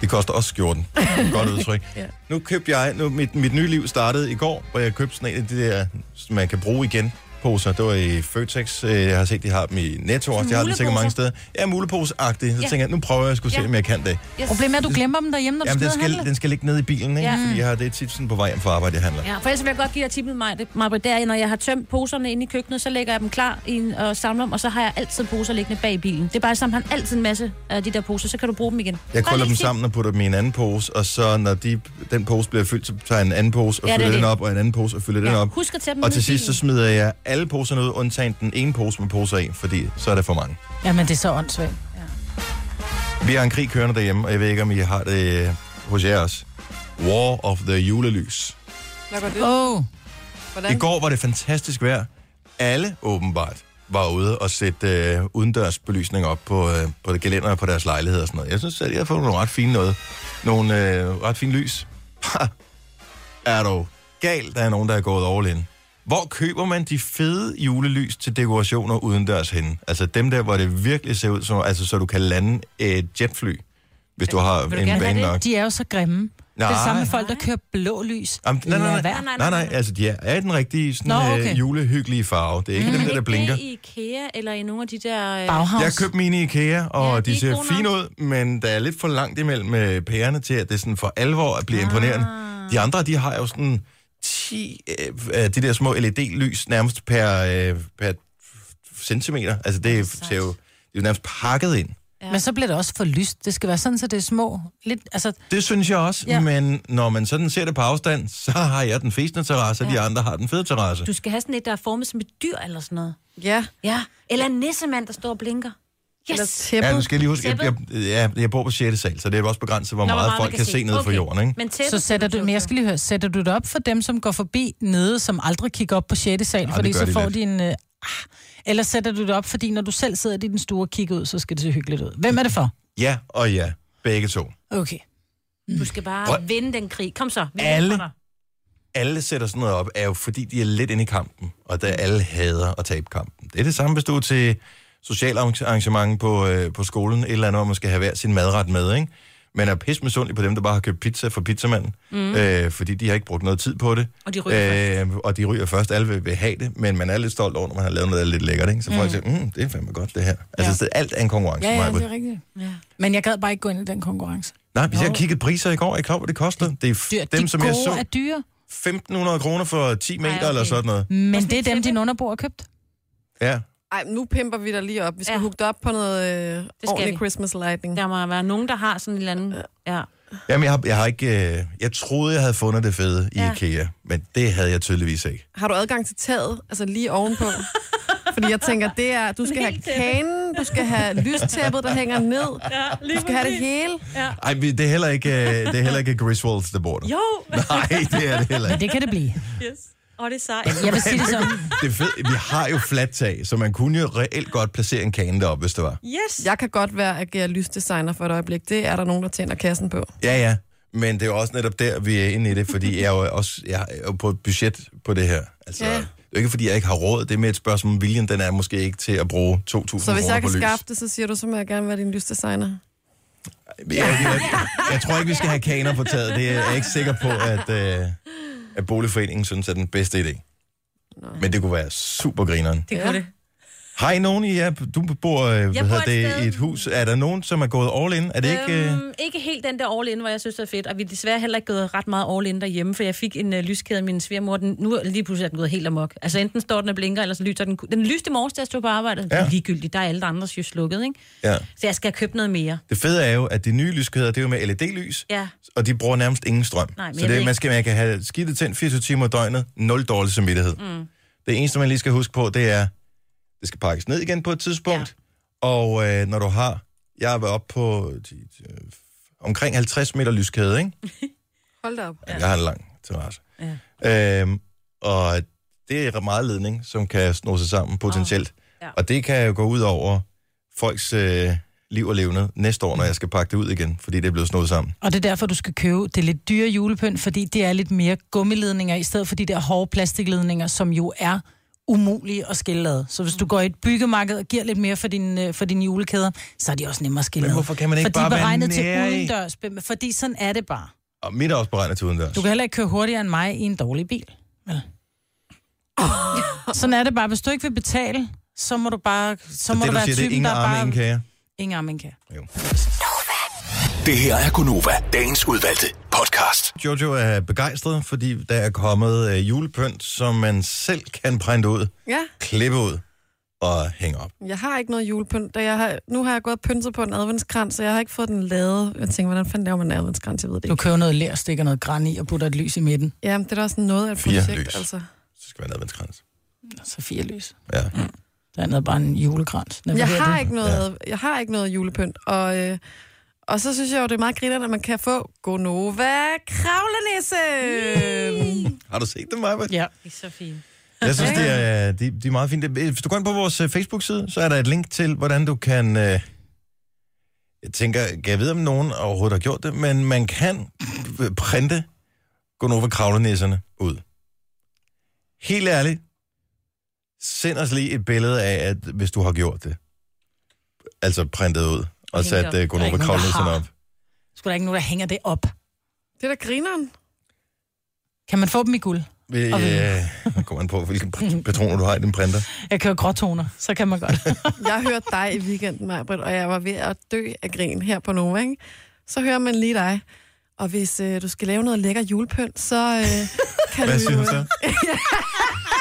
Det koster også skjorten. Godt udtryk. ja. Nu købte jeg, nu, mit, mit nye liv startede i går, hvor jeg købte sådan en af de der, som man kan bruge igen. muleposer. Det var i Føtex. Øh, Jeg har set, de har dem i Netto også. De har dem sikkert mange steder. Ja, mulepose-agtigt. Så Ja. tænker jeg, nu prøver jeg skulle se, Ja. om jeg kan det. Yes. Problemet er, at du glemmer dem derhjemme, når du Jamen, skal den ned og handle. skal, den skal ligge nede i bilen, ikke? Ja. Ja. Fordi jeg har det tit sådan på vej hjem fra arbejde, jeg handler. Ja, for ellers vil jeg godt give dig tippet mig, Marbrit, der, når jeg har tømt poserne inde i køkkenet, så lægger jeg dem klar i en, og samler dem, og så har jeg altid poser liggende bag i bilen. Det er bare sammen, han altid en masse af de der poser, så kan du bruge dem igen. Jeg Bare krøller lige dem sige- sammen og putter dem i en anden pose, og så når de, den pose bliver fyldt, så tager jeg en anden pose og Ja, ja, det er fylder den det. op, og en anden pose og fylder ja, den Ja, op. husk at tage dem og ned i til sidst så bilen. smider jeg alle poserne ud, undtagen den ene pose med poser i, fordi så er det for mange. Jamen, det er så åndssvagt. Vi har en krig kørende derhjemme, og jeg ved ikke, om I har det øh, hos jer også. War of the julelys. Hvad går det? Åh, oh, I Hvordan? går var det fantastisk vejr. Alle åbenbart var ude og sætte øh, udendørs belysning op på, øh, på det gelænder på deres lejlighed og sådan noget. Jeg synes, at jeg har fået nogle ret fine noget. Nogle øh, ret fine lys. Ha! er du galt, der er nogen, der er gået all in. Hvor køber man de fede julelys til dekorationer udendørs henne? Altså dem der, hvor det virkelig ser ud som, altså så du kan lande et jetfly, hvis du har du en gerne bane have nok. de er jo så grimme. Nej. Det er det samme med folk, der Nej. kører blå lys. Jamen, nej, nej, Lad nej, være. nej, nej, nej, altså de er, er i den rigtige sådan, Nå, Nå, okay. okay. øh, julehyggelige farve. Det er ikke mm. dem der, der blinker. Det i IKEA eller i nogle af de der... Øh, Bauhaus. Jeg købte mine i IKEA, og ja, Ja, de er de ser gode nok. fine ud, men der er lidt for langt imellem øh, pærerne til, at det sådan for alvor at blive ah. imponerende. De andre, de har jo sådan 10 øh, af de der små LED-lys nærmest per, øh, per centimeter. Altså det er, ser jo, det er jo nærmest pakket ind. Men så bliver det også for lyst. Det skal være sådan, så det er små. Lidt, altså, Det synes jeg også, Ja. ja. men når man sådan ser det på afstand, så har jeg den fæsende terrasse, og de andre har den fede terrasse. Du skal have sådan et, der er formet som et dyr eller sådan noget. Ja. Ja, eller en nissemand, der står og blinker. Eller Yes! Ja, nu tæppet. skal jeg lige huske, jeg, jeg, jeg, jeg bor på 6. sal, så det er også begrænset, hvor Nå, meget, hvor meget man folk kan, kan se ned okay. fra jorden, ikke? Men tæppet så sætter skal du, men jeg købe. skal lige høre, sætter du det op for dem, som går forbi nede, som aldrig kigger op på 6. sal, det fordi gør så de får lidt. de en... Øh, ah. eller sætter du det op, fordi når du selv sidder i den store og kigger ud, så skal det se hyggeligt ud. Hvem er det for? Ja og ja, begge to. Okay. Du skal bare Prøv- vinde den krig. Kom så. vi Alle- hjælper dig. alle sætter sådan noget op, er jo fordi, de er lidt inde i kampen, og der alle hader at tabe kampen. Det er det samme, hvis du er til sociale arrangement på, øh, på skolen, et eller andet, hvor man skal have hver sin madret med, ikke? Man er pis misundelig på dem, der bare har købt pizza fra pizzamanden, mm. øh, fordi de har ikke brugt noget tid på det. Og de ryger øh, Og de ryger først. Alle vil, vil have det, men man er lidt stolt over, når man har lavet noget, der er lidt lækkert, ikke? Så folk siger, mm, det er fandme godt, det her. Altså, ja. alt er en konkurrence. Maja. rigtigt. Ja. Men jeg gad bare ikke gå ind i den konkurrence. Nej, hvis jeg kiggede priser i går, jeg klar, hvad det kostede. Det er Dyr. dem, de som gode jeg så, er dyre, 1.500 kroner for 10 meter okay. eller sådan noget. men det er dem, din underbo har købt. Ja. Ej, nu pimper vi dig lige op. Vi skal Ja. ja. hugge dig op på noget øh, skal ordentlig vi. Christmas lighting. Der må være nogen, der har sådan en eller anden... Ja. Jamen, jeg har, jeg har ikke... Øh, jeg troede, jeg havde fundet det fede i Ja. ja. IKEA, men det havde jeg tydeligvis ikke. Har du adgang til taget? Altså lige ovenpå? Fordi jeg tænker, det er, du skal have Helt tæppe. kanen, du skal have lystæppet, der hænger ned. ja Du skal have det hele. Ej, vi- det er heller ikke, øh, det er heller ikke Griswolds, der bor der. Jo! Nej, det er det heller ikke. Men det kan det blive. Yes. Og det er sejt. Jeg vil sige det sådan. Det er fedt. Vi har jo fladt tag, så man kunne jo reelt godt placere en kane deroppe, hvis det var. Yes! Jeg kan godt være agere lysdesigner for et øjeblik. Det er der nogen, der tjener kassen på. Ja, ja. Men det er jo også netop der, vi er inde i det, fordi jeg er jo også jeg er jo på et budget på det her. Altså, Ja. ja. Det er jo ikke, fordi jeg ikke har råd. Det er med et spørgsmål om viljen. Den er måske ikke til at bruge 2.000 kroner på lys. Så hvis jeg kan skaffe det, så siger du, så må jeg gerne være din lysdesigner. Jeg, jeg, jeg tror ikke, vi skal have kaner på taget. Det er jeg ikke sikker på, at, øh, at boligforeningen synes er den bedste idé. Men det kunne være super grineren. Det kunne det. Har I nogen i jer? Du bor, øh, hvad bor hedder et det, sted. i et hus. Er der nogen, som er gået all in? Er det ikke... Øh... Øhm, ikke helt den der all in, hvor jeg synes, det er fedt. Og vi er desværre heller ikke gået ret meget all in derhjemme, for jeg fik en uh, lyskæde af min svigermor. Den, nu er- lige pludselig er den gået helt amok. Altså enten står den og blinker, eller så lyser den. Den lyste i morges, da jeg stod på arbejde. Ja. Det er Ja. ligegyldigt, der er alle de andres jo slukket, ikke? Ja. Så jeg skal have købt noget mere. Det fede er jo, at de nye lyskæder, det er jo med E LED-lys, Ja. og de bruger nærmest ingen strøm. Nej, men så jeg ved det, ikke- man, skal, man kan have skidtet tændt 24 timer i døgnet, nul dårlig samvittighed. Mm. Det eneste, man lige skal huske på, det er, det skal pakkes ned igen på et tidspunkt, ja. og øh, når du har, jeg var oppe på de, de, øh, omkring 50 meter lyskæde, ikke? Hold da op. Ja. Jeg har en lang terrasse. Ja. Øhm, og det er meget ledning, som kan sno sig sammen potentielt. Ja. Ja. Og det kan jo gå ud over folks øh, liv og levende næste år, når jeg skal pakke det ud igen, fordi det er blevet snået sammen. Og det er derfor, du skal købe det lidt dyre julepynt, fordi det er lidt mere gummiledninger, i stedet for de der hårde plastikledninger, som jo er umulige at skille ad. Så Mm. hvis du går i et byggemarked og giver lidt mere for dine, øh, for dine julekæder, så er de også nemmere at skille Men ad. hvorfor kan man ikke for de er bare være beregnet til nære i? udendørs, be- fordi sådan er det bare. Og mit er også beregnet til udendørs. Du kan heller ikke køre hurtigere end mig i en dårlig bil. Vel? Sådan er det bare. Hvis du ikke vil betale, så må du bare... Så, så Så må det, du du være siger, det er typen, ingen der arme, bare... ingen kage. Ingen arm, ingen kage. Jo. Det her er Gunova, dagens udvalgte podcast. Jojo er begejstret, fordi der er kommet øh, julepynt, som man selv kan printe ud, Ja, klippe ud og hænge op. jeg har ikke noget julepynt. og Jeg har, nu har jeg gået og pyntet på en adventskrans, så jeg har ikke fået den lavet. Jeg tænker, hvordan fanden laver man en adventskrans? Jeg ved det Du ikke. køber noget lær, stikker noget græn i og putter et lys i midten. Jamen, det er da også noget af et Fire projekt, lys. altså. Så skal man have adventskrans. Så fire lys. Ja. Det andet er bare en julekrans. Når vi Jeg hører har, det. ikke noget, jeg har ikke noget julepynt, og, øh, og så synes jeg jo, det er meget grinerende, at man kan få Gonova Kravlenisse. Har du set det, Maja? Ja. Det er så fint. Jeg synes, det er, de, de er meget fint. Hvis du går ind på vores øh, Facebook-side, så er der et link til, hvordan du kan... Øh, jeg tænker, kan jeg vide, om nogen overhovedet har gjort det, men man kan p- printe Gonova kravlenæsserne ud. Helt ærligt, send os lige et billede af, at hvis du har gjort det. Altså printet ud og Hængt sat op. uh, Der er Gonova ikke nogen, der kravlenæsserne har. op. Skulle der ikke nogen, der hænger det op? Det er da grineren. Kan man få dem i guld? Vi, Og hvem? øh, nu kommer an på, hvilke pat- patroner du har i din printer. Jeg kører gråtoner, så kan man godt. Jeg hørte dig i weekenden, Majbrit, og jeg var ved at dø af grin her på Nova, ikke? Så hører man lige dig. Og hvis øh, du skal lave noget lækker julepynt, så øh, kan Hvad du... siger hun så?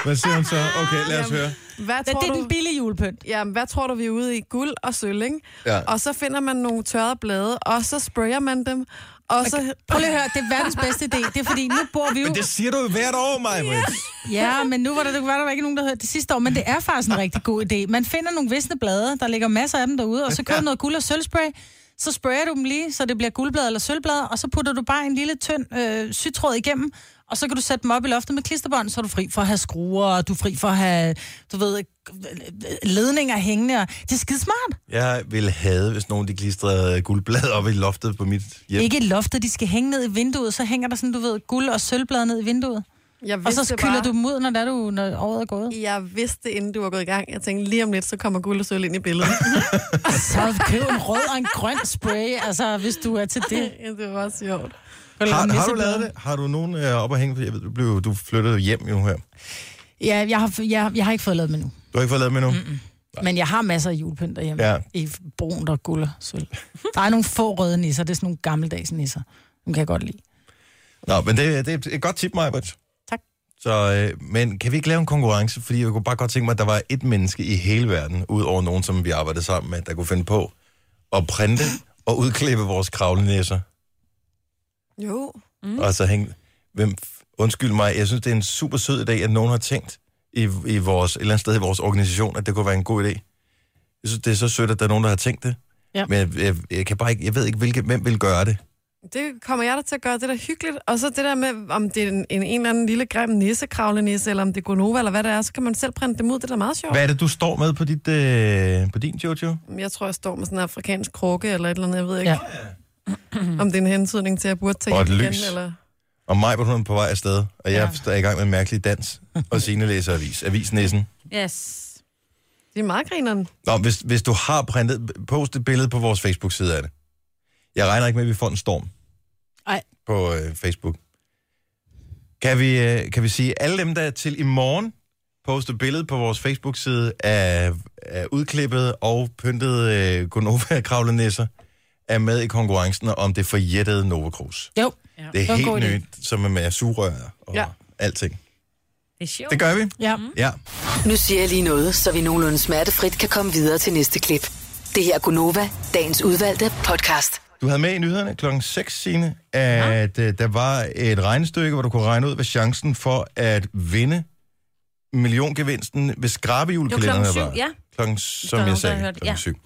Hvad siger hun så? Okay, lad os høre. Hvad det tror er du, den billige julepynt. jamen, hvad tror du, vi er ude i? Guld og sølv, ikke? Ja. Og så finder man nogle tørrede blade, og så sprayer man dem, og så... Prøv lige at høre, det er verdens bedste idé. Det er fordi, nu bor vi jo... Men det siger du jo hvert år, Maja. Ja, men nu var der, var der ikke nogen, der hørte det sidste år, men det er faktisk en rigtig god idé. Man finder nogle visne blade, der ligger masser af dem derude, og så køber noget guld- og sølvspray, så sprayer du dem lige, så det bliver guldblad eller sølvblad, og så putter du bare en lille tynd øh, sytråd igennem, og så kan du sætte dem op i loftet med klisterbånd, så er du fri for at have skruer, og du er fri for at have, du ved, ledninger hængende. Og... Det er skidesmart. Jeg ville have, hvis nogen de klistrede guldblad op i loftet på mit hjem. Ikke i loftet, de skal hænge ned i vinduet, så hænger der sådan, du ved, guld- og sølvblad ned i vinduet. Jeg Og vidste så bare- kylder du dem ud, når, der du, når året er gået. Jeg vidste, inden du var gået i gang. Jeg tænkte, lige om lidt, så kommer guld og sølv ind i billedet. Så køb en rød og en grøn spray, altså, hvis du er til det. Ja, det var sjovt. Har, har du lavet det? Har du nogen øh, op at hænge? For Jeg ved, du, blev, du flyttede hjem jo her. Ja, jeg har, jeg, jeg har ikke fået lavet dem endnu. Du har ikke fået lavet med nu? Mm-mm. Men jeg har masser af julepynt derhjemme. Ja. I brun og guld og sølv. Der er nogle få røde nisser. Det er sådan nogle gammeldags nisser. Dem kan jeg godt lide. Nå, men det, det er et godt tip, Maja. Tak. Så, øh, men kan vi ikke lave en konkurrence? Fordi jeg kunne bare godt tænke mig, at der var et menneske i hele verden, ud over nogen, som vi arbejdede sammen med, der kunne finde på at printe og udklippe vores kravlenæsser. Jo. Mm. Og så hænge... Hvem, undskyld mig, jeg synes, det er en super sød idé, at nogen har tænkt i, i vores, et eller andet sted i vores organisation, at det kunne være en god idé. Jeg synes, det er så sødt, at der er nogen, der har tænkt det. Ja. Men jeg, jeg, jeg, kan bare ikke, jeg ved ikke, hvilke, hvem vil gøre det. Det kommer jeg da til at gøre, det der hyggeligt. Og så det der med, om det er en, en, en eller anden lille grim nissekravlenisse, eller om det er Gonova, eller hvad det er, så kan man selv printe dem ud. Det er da meget sjovt. Hvad er det, du står med på, dit, øh, på din, Jojo? Jeg tror, jeg står med sådan en afrikansk krukke, eller et eller andet, jeg ved ikke. Ja. Om det er en hentydning til, at jeg burde tage Og et hjem igen, lys. eller... Og mig, hvor hun er på vej afsted, og jeg ja. er i gang med en mærkelig dans, og Signe læser avis. Avisnæsen. Yes. Det er meget grineren. Nå, hvis, hvis du har printet, post et billede på vores Facebook-side af det. Jeg regner ikke med, at vi får en storm. Ej. På øh, Facebook. Kan vi, øh, kan vi sige, alle dem, der til i morgen poster billede på vores Facebook-side af, af udklippet og pyntet øh, gonova kravlenæsser er med i konkurrencen om det forjættede Nova Cruz. Jo. Det er var en helt god idé. nyt, som er med sugerør og ja. Ja. alting. Det er sjovt. Det gør vi. Ja. Ja. Nu siger jeg lige noget, så vi nogenlunde smertefrit kan komme videre til næste klip. Det her er Gunova, dagens udvalgte podcast. Du havde med i nyhederne klokken 6, Signe, at ja. der var et regnestykke, hvor du kunne regne ud, hvad chancen for at vinde milliongevinsten ved skrabejulekalenderne Det var klokken var. syv, ja. Klokken, som Der er jeg nogen, sagde, der har hørt det, klokken syv.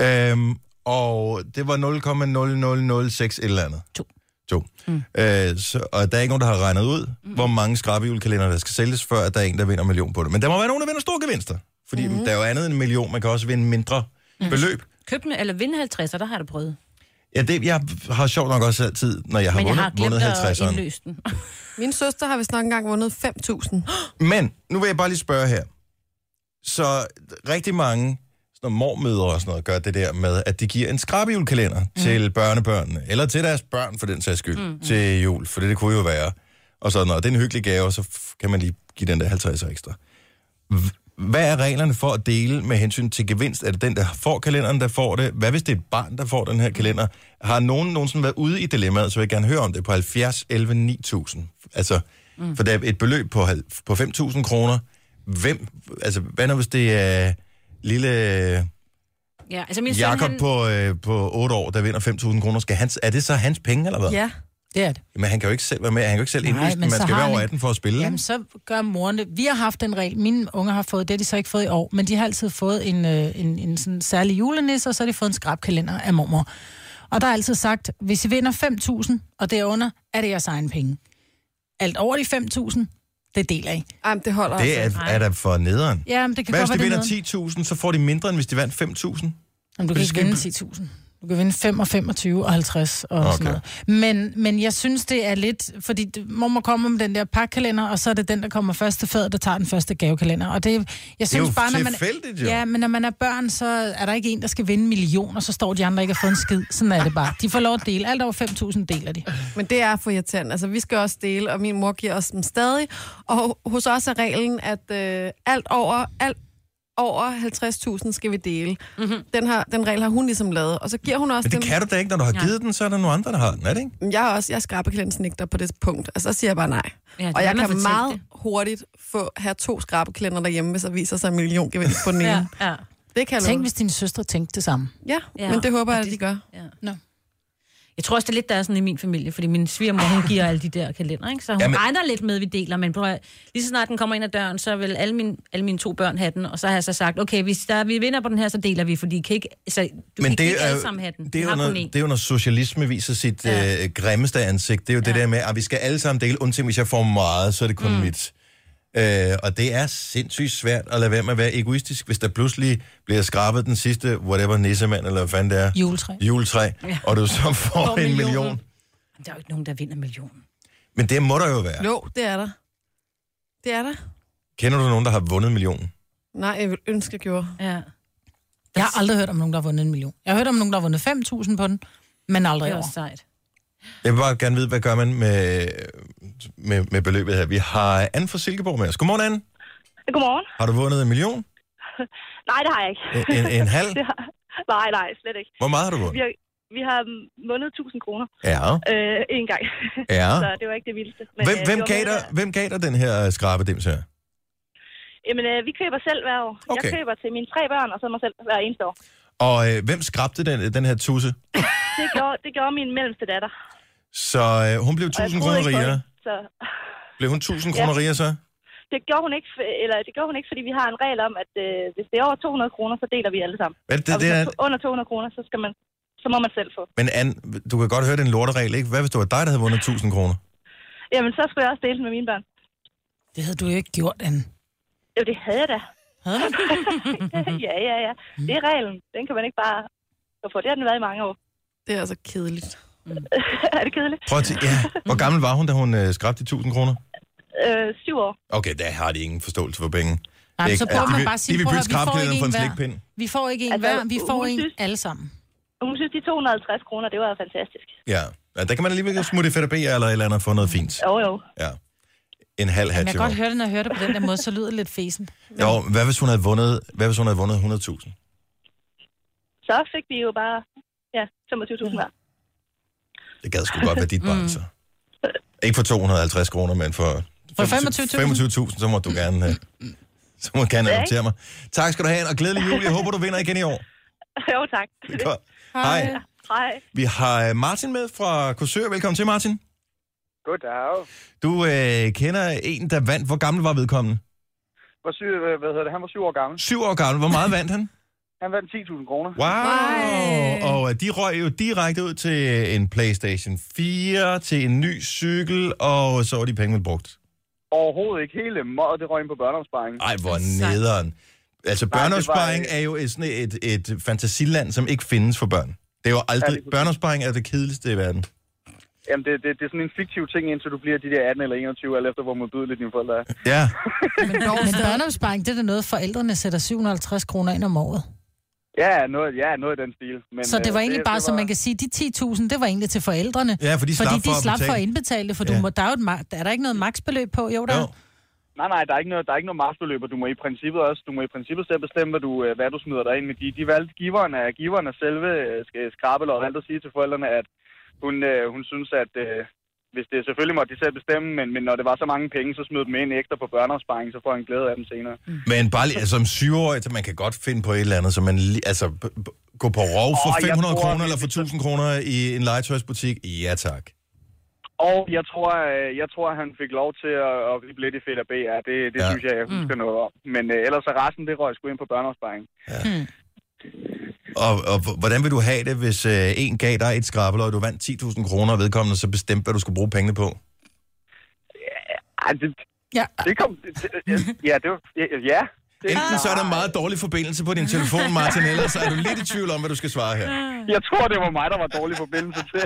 Øhm, og det var 0,0006 et eller andet. To. To. Mm. Øh, så, og der er ikke nogen, der har regnet ud, mm. hvor mange skrabejulekalendere, der skal sælges, før at der er en, der vinder en million på det. Men der må være nogen, der vinder store gevinster. Fordi mm. der er jo andet end en million. Man kan også vinde mindre mm. beløb. Køb den, eller vinde 50, der har jeg det prøvet. Ja, det, jeg har sjovt nok også altid, når jeg har Men jeg vundet, har glemt vundet at 50'eren. indløse den. Min søster har vist nok engang vundet 5.000. Men nu vil jeg bare lige spørge her. Så rigtig mange sådan nogle mormødre og sådan noget gør det der med, at de giver en skrabehjulkalender mm. til børnebørnene, eller til deres mm. børn for den sags skyld, mm. til jul, for det, det kunne jo være. Og sådan noget. Det er en hyggelig gave, og så f- kan man lige give den der 50 ekstra. H- Hvad er reglerne for at dele med hensyn til gevinst? Er det den, der får kalenderen, der får det? Hvad hvis det er et barn, der får den her kalender? Har nogen nogensinde været ude i dilemmaet, så vil jeg gerne høre om det på 70 11 9000. Altså, mm. for der er et beløb på, hal- på 5.000 kroner. Hvem, altså, hvad nu hvis det er lille Ja, altså min søn, Jakob han, på, øh, på 8 år, der vinder 5.000 kroner, skal han, er det så hans penge, eller hvad? Ja. Det er det. Men han kan jo ikke selv være med, han kan jo ikke selv Nej, indløse men den, man så skal har være over han- 18 for at spille. Jamen, Jamen, så gør moren det. Vi har haft den regel. Mine unger har fået det, har de så ikke fået i år. Men de har altid fået en, øh, en, en sådan særlig julenisse, og så har de fået en skrabkalender af mormor. Og der er altid sagt, hvis I vinder 5.000, og derunder, er det jeres egen penge. Alt over de 5.000, det deler I. Ej, men det holder det er, altså. er da for nederen. Ja, men det kan Hvad godt hvis de være, vinder det er noget. 10.000, så får de mindre, end hvis de vandt 5.000? Jamen, du kan Fordi ikke skal vinde 10.000. Du kan vinde 5 og 25 og 50 og okay. Okay. sådan noget. Men, men jeg synes, det er lidt... Fordi det- mormor kommer med den der pakkalender, og så er det den, der kommer først til fadet, der tager den første gavekalender. Og det, jeg synes Det er jo bare, når man, tilfældigt, jo. Ja, men når man er børn, så er der ikke en, der skal vinde millioner, så står de andre ikke og får en skid. Sådan er det bare. De får lov at dele. Alt over 5.000 deler de. Altså- Men det er for irriterende. Altså, vi skal også dele, og min mor giver os dem stadig. Og hos os er reglen, at øh, alt over, alt over 50.000 skal vi dele. Mm-hmm. Den, har, den regel har hun ligesom lavet. Og så giver hun også Men det dem... kan du da ikke, når du har Nej. givet den, så er der nogle andre, der har den, er det ikke? Jamen, Jeg er også, jeg skrabekalendernægter på det punkt, og så siger jeg bare nej. Ja, Ja, det og har jeg man kan fortalt meget det. det. hurtigt få, have to skrabekalender derhjemme, hvis der viser sig en million gevinst på den ene. ja, ja. ja, Det kan jeg Tænk, love. hvis dine søstre tænkte det samme. Ja, Ja, ja, men det håber og jeg, at det- de gør. ja. Nå. Jeg tror også, det er lidt, der er sådan i min familie, fordi min svigermor, hun giver alle de der kalender, ikke? Så hun Jamen- Jamen... regner lidt med, at vi deler, men prøv, at- lige så snart den kommer ind ad døren, så vil alle mine, alle mine to børn have den, og så har jeg så sagt, okay, hvis der, vi vinder på den her, så deler vi, fordi I kan ikke, så, du kan Men ikke, det ikke er, alle sammen have den. det, er jo Du har når, kun én. det er jo, når socialisme viser sit Ja. ja. øh, grimmeste ansigt. Det er jo ja. det der med, at vi skal alle sammen dele, undtagen hvis jeg får meget, så er det kun mm. mit. Øh, og det er sindssygt svært at lade være med at være egoistisk, hvis der pludselig bliver skrabet den sidste, whatever, nissemand, eller hvad fanden det er, Juletræ. juletræ, ja. og du så får en millionen. million. Der er jo ikke nogen, der vinder millionen. Men det må der jo være. Jo, det er der. Det er der. Kender du nogen, der har vundet millionen? Nej, jeg ville ønske, jeg gjorde. Ja. Jeg har aldrig hørt om nogen, der har vundet en million. Jeg har hørt om nogen, der har vundet 5.000 på den, men Det aldrig er over. også sejt. Jeg vil bare gerne vide, hvad gør man med, med, med beløbet her. Vi har Anne fra Silkeborg med os. Godmorgen, Anne. Godmorgen. Har du vundet en million? Nej, det har jeg ikke. En, en, en halv? Det har... Nej, nej, slet ikke. Hvor meget har du Vi vundet? har, vi har mm, vundet 1000 kroner Ja, øh, en gang, så ja. det var ikke det vildeste. Ah. Hvem, øh, det hvem, var gav mere- dig, hvem gav dig den her øh, skrabedims her? Jamen, øh, vi køber selv hver år. Okay. Jeg Okay. køber til mine tre børn, og så mig selv hver eneste år. Og øh, hvem skrabte den, den her tusse? Det gjorde, det gjorde min mellemste datter. Så øh, hun blev Og jeg 1000 troede kroner ikke på rigere. det, Så Blev hun 1000 kroner rigere så? det gjorde, hun ikke, f- eller det gjorde hun ikke, fordi vi har en regel om, at øh, hvis det er over 200 kroner, så deler vi alle sammen. Hvad er og det, hvis det det er, er under 200 kroner, så, skal man, så må man selv få. men Anne, du kan godt høre, det er en lorteregel, ikke? Hvad hvis det var dig, der havde vundet 1000 kroner? Jamen, så skulle jeg også dele den med mine børn. Det havde du jo ikke gjort, Anne. Jo, det havde jeg da. Havde du? ja, ja, ja. Det er reglen. Den kan man ikke bare gå for. Det har den været i mange år. Det er altså kedeligt. er det kedeligt? Prøv at t- ja. Hvor gammel var hun, da hun øh, skrabte de 1000 kroner? Øh, syv år. Okay, der har de ingen forståelse for penge. Nej, men så Altså, burde de man vil- bare sige, de vil "Prøv at bytte høre, vi får skrabeklæderen ikke for en en hver. slikpind. Vi får ikke en Altså, hver, vi får en udsigt. alle sammen. Hun synes, de 250 kroner, det var fantastisk. Ja. ja, der kan man alligevel smutte i fedt og bære eller et eller andet og få noget fint. Jo, jo. Ja. En halv Men hat jeg til kan godt høre det, når jeg hører det på den der måde, så lyder det lidt fesen. Jo, hvad hvis hun havde vundet, hvad hvis hun havde vundet 100.000? Så fik vi jo bare ja, 25.000 hver. Det gad sgu godt være dit barn, så. Ikke for 250 kroner, men for... Mm. For 25.000, 25.000. 25.000, så må du gerne... øh, Så må du gerne Ja, adoptere mig. Tak skal du have, og glædelig jul. Jeg håber, du vinder igen i år. jo, tak. Det er godt. Hej. Hej. Vi har øh, Martin med fra Korsør. Velkommen til, Martin. Goddag. Du øh, kender en, der vandt. Hvor gammel var vedkommende? Var syv, øh, hvad hedder det? Han var syv år gammel. Syv år gammel. Hvor meget vandt han? Han vandt 10.000 kroner. Wow! Og øh, de røg jo direkte ud til en Playstation 4, til en ny cykel, og så var de penge vel brugt. Overhovedet ikke. Hele måde, det røg ind på børneopsparingen. Ej, hvor nederen. Altså, var, øh, børneopsparing er jo et, sådan et, et fantasiland, som ikke findes for børn. Det er jo aldrig... Ja, det- børneopsparing er det kedeligste i verden. Jamen, det, det, det, er sådan en fiktiv ting, indtil du bliver de der 18 eller 21, alt efter hvor modbydeligt dine forældre er. Ja. Men, men børneopsparing, det er da noget, forældrene sætter 750 kroner ind om året. Ja, noget, ja, noget i den stil. Men, Så det var øh, egentlig bare, som man kan sige, de 10.000, det var egentlig til forældrene. Ja, for de slap fordi for at de slap for at betale. indbetale det, for du Ja. må, der er, jo et, ma- er der ikke noget maksbeløb på? Jo, der er. Jo. Nej, nej, der er ikke noget, der er ikke noget masterløb, og du må i princippet også, du må i princippet selv bestemme, hvad du, øh, hvad du smider dig ind med. De, de valgte giveren af, giveren af selve øh, skrabelåret, valgte at sige til forældrene, at hun, øh, hun synes, at øh, hvis det selvfølgelig måtte de selv bestemme, men, men når det var så mange penge, så smed dem ind ekstra på børneopsparing, så får han glæde af dem senere. Men bare lige, altså, som syvårig, så man kan godt finde på et eller andet, så man lige, altså, b- b- gå på rov for Åh, jeg tror, 500 kroner det- eller for 1000 kroner i en legetøjsbutik. Ja, tak. Og jeg tror, øh, jeg tror at han fik lov til at, at blive lidt i fedt af BR. Det, det Ja. ja. synes jeg, jeg husker mm. noget om. Men øh, ellers så resten, det røg sgu ind på børneopsparing. Og, og h- hvordan vil du have det, hvis øh, en gav dig et skrabeløg, og du vandt 10.000 kroner, og vedkommende så bestemte, hvad du skulle bruge pengene på? Ej, det, Ja. det kom... Det, det, ja, det var... Ja. Det, Enten så er der meget dårlig forbindelse på din telefon, Martin, eller så er du lidt i tvivl om, hvad du skal svare her. Jeg tror, det var mig, der var dårlig forbindelse til.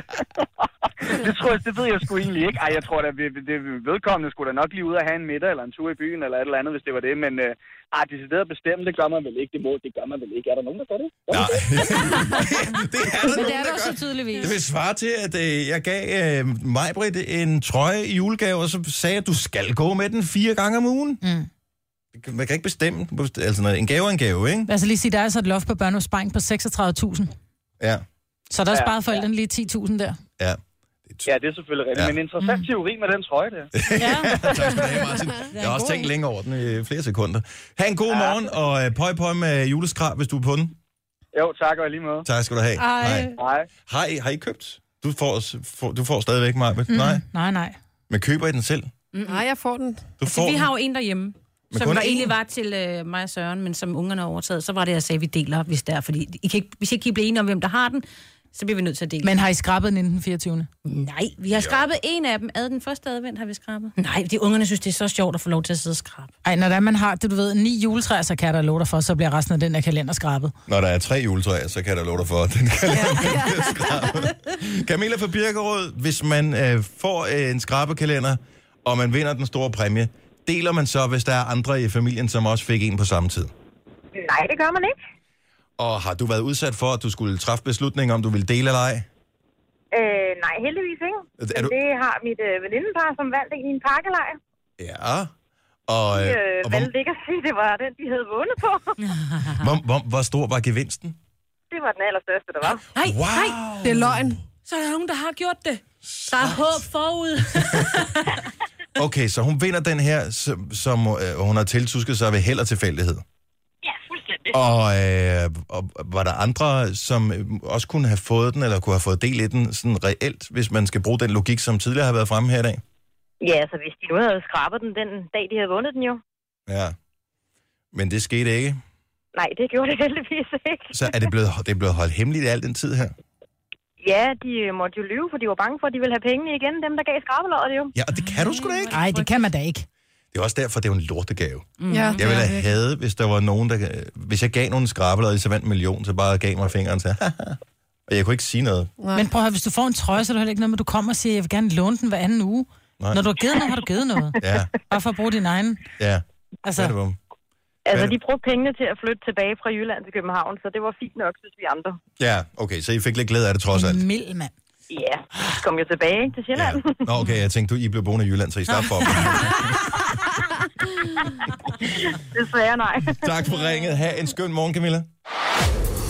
det, tror jeg, det ved jeg sgu egentlig ikke. Ej, jeg tror, at det vedkommende skulle da nok lige ud og have en middag eller en tur i byen eller et eller andet, hvis det var det. Men øh, ej, decideret at bestemme, det gør man vel ikke. Det, må, det gør man vel ikke. Er der nogen, der gør det? Nej, det er der Men nogen, det er der der gør. så tydeligvis. Det vil svare til, at øh, jeg gav øh, Majbrit en trøje i julegave, og så sagde jeg, at du skal gå med den fire gange om ugen. Mm. Man kan ikke bestemme. Altså, når en gave er en gave, ikke? Lad os Altså, lige sige, der er så et loft på børneopsparing på 36.000. Ja, Så der er Ja, sparet forældrene lige 10.000 der. ja. Ja, det er selvfølgelig rigtigt. Ja. Ja. Men interessant Mm. teori med den trøje der. Ja. tak skal du have, Martin. Jeg har også tænkt længe over den i flere sekunder. Ha' en god morgen, og øh, pøj pøj med juleskrab, hvis du er på den. Jo, tak og i lige måde. Tak skal du have. Ej. Hej. Har I, har I købt? Du får, os- får, du får stadigvæk mig. Mm. Nej, Nej, nej. men køber I den selv? Mm. Nej, jeg får den. Du Altså, vi har jo en derhjemme, Men som kun der én? egentlig var til øh, mig og Søren, men som ungerne har overtaget. Så var det, jeg sagde, at vi deler, hvis det er. Fordi I kan ikke, hvis ikke I bliver enige om, hvem der har den, så bliver vi nødt til at dele. Men har I skrabet den inden den 24. Nej, vi har skrabet en af dem. Ad den første advent har vi skrabet. Nej, de ungerne synes, det er så sjovt at få lov til at sidde og skrabe. Ej, når det er, man har, det du ved, ni juletræer, så kan jeg da love dig for, så bliver resten af den her kalender skrabet. Når der er tre juletræer, så kan jeg da love dig for, at den kan Camilla fra Birkerød, hvis man øh, får øh, en skrabekalender, og man vinder den store præmie, deler man så, hvis der er andre i familien, som også fik en på samme tid? Nej, det gør man ikke. Og har du været udsat for, at du skulle træffe beslutninger, om du ville dele eller ej? Øh, nej, heldigvis ikke. Er Men du- Det har mit øh, venindepar, som valgte i en pakkelejr. Ja. Og, De øh, øh, og hvor, valgte ikke at sige, det var den, de havde vundet på. hvor, hvor, hvor stor var gevinsten? det var den allerstørste, der var. Nej, wow. nej, Det er løgn. så er der nogen, der har gjort det. Der er håb forud. Okay, så hun vinder den her, som, som øh, hun har tiltusket sig ved held og tilfældighed. Ja, fuldstændig. Og, øh, og var der andre, som øh, også kunne have fået den, eller kunne have fået del i den sådan reelt, hvis man skal bruge den logik, som tidligere har været fremme her i dag? Ja, så hvis de nu havde skrabet den den dag, de havde vundet den jo. Ja. Men det skete ikke. Nej, det gjorde det heldigvis ikke. Så er det blevet, det er blevet holdt hemmeligt al den tid her. Ja, de øh, måtte jo lyve, for de var bange for, at de ville have pengene igen, dem der gav skrabelåret jo. Ja, og det kan du sgu da ikke. Nej, det kan man da ikke. Det er også derfor, det er jo en lortegave. Mm. Ja, Jeg ville det er have det. hadet, hvis der var nogen, der... Hvis jeg gav nogen en skrabel, og så vandt en million, så bare gav mig fingeren til. og jeg kunne ikke sige noget. Men prøv at høre, hvis du får en trøje, så er det heller ikke noget med, at du kommer og siger, jeg vil gerne låne den hver anden uge. Nej. Nej. Når du har givet noget, har du givet noget. Ja, Bare for at bruge din egen. ja. Altså, Så. Det var. Altså, Hvad- de brugte pengene til at flytte tilbage fra Jylland til København, så det var fint nok, synes vi andre. Ja, okay, så I fik lidt glæde af det trods alt. mild mand. Ja, de kom jo tilbage til Ja. Sjælland. Nå, okay, jeg tænkte, du, I blev boende i Jylland, så I slap for dem. Desværre nej. Tak for ringet. Ha' en skøn morgen, Camilla.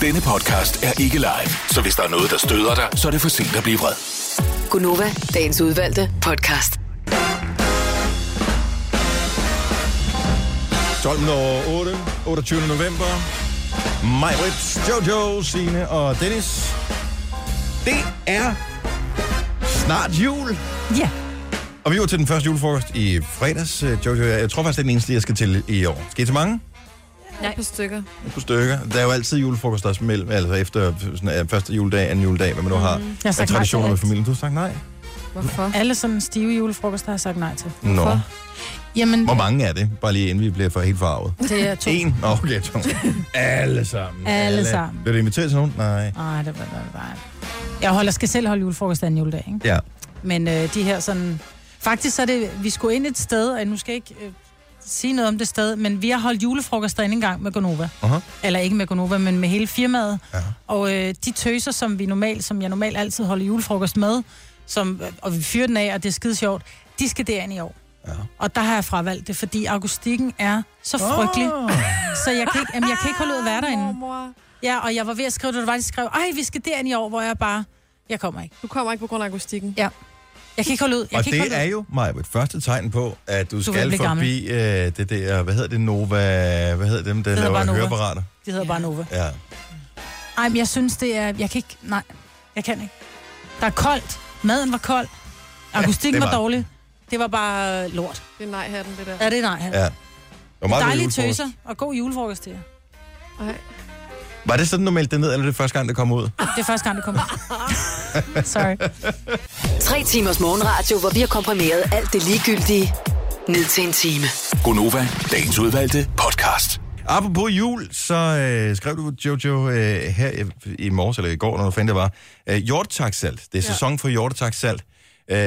Denne podcast er ikke live, så hvis der er noget, der støder dig, så er det for sent at blive vred. Gunova, dagens udvalgte podcast. 12 over 8, 28. november. Maj Jojo, Signe og Dennis. Det er snart jul. Ja. Og vi var til den første julefrokost i fredags, øh, Jojo. Jeg tror faktisk, det er den eneste, jeg skal til i år. Skal I til mange? Et par stykker. Et par stykker. Der er jo altid julefrokost også mellem, altså efter sådan, øh, første juledag, anden juledag, hvad man nu har. Mm. Jeg har sagt nej til traditioner med alt. familien. Du har sagt nej. Hvorfor? Alle sådan stive julefrokoster har jeg sagt nej til. Nå. Hvorfor? Jamen, Hvor mange er det? Bare lige inden vi bliver for helt farvet. det er to. En? Nå, okay, to. Alle sammen. Alle sammen. Bliver du inviteret til nogen? Nej. Ej, det var det bare. Jeg holder, skal selv holde julefrokost anden juledag, ikke? Ja. Men øh, de her sådan... Faktisk så er det... Vi skulle ind et sted, og nu skal jeg ikke øh, sige noget om det sted, men vi har holdt julefrokost derinde engang med Gonova. Aha. Eller ikke med Gonova, men med hele firmaet. Ja. Og øh, de tøser, som vi normalt, som jeg normalt altid holder julefrokost med, som, og vi fyrer den af, og det er skide sjovt, de skal derind i år. Og der har jeg fravalgt det, fordi akustikken er så frygtelig. Oh. Så jeg kan, ikke, jamen, jeg kan ikke holde ud at være derinde. Mormor, Ja, og jeg var ved at skrive, da du var, de skrev, ej, vi skal derind i år, hvor jeg bare, jeg kommer ikke. du kommer ikke på grund af akustikken. Ja. Jeg kan ikke holde ud. Jeg Og kan ikke det holde er ud. jo, Maja, et første tegn på, at du, du vil skal blive gammel. forbi øh, det der, hvad hedder det, Nova, hvad hedder dem, der hedder laver bare Nova. høreapparater? Det hedder bare Nova. Ja. Ej, men jeg synes, det er... Jeg kan ikke... Nej, jeg kan ikke. Der er koldt. Maden var kold. Akustikken det ja, var var dårlig. Det var bare øh, lort. Det er nej-hatten, det der. Ja, det er nej. Ja. Ja. Det var meget god Dejlige julefrokost. tøser og god julefrokost til jer. Ej. Var det sådan, du meldte det ned, eller det første gang, det kom ud? Det er første gang, det kommer. Sorry. Tre timers morgenradio, hvor vi har komprimeret alt det ligegyldige ned til en time. Gonova, dagens udvalgte podcast. Apropos jul, så øh, skrev du, Jojo, øh, her i, i morges, eller i går, når du fandt det var, øh, hjortetaksalt. Det er ja. sæson for hjortetaksalt. Øh,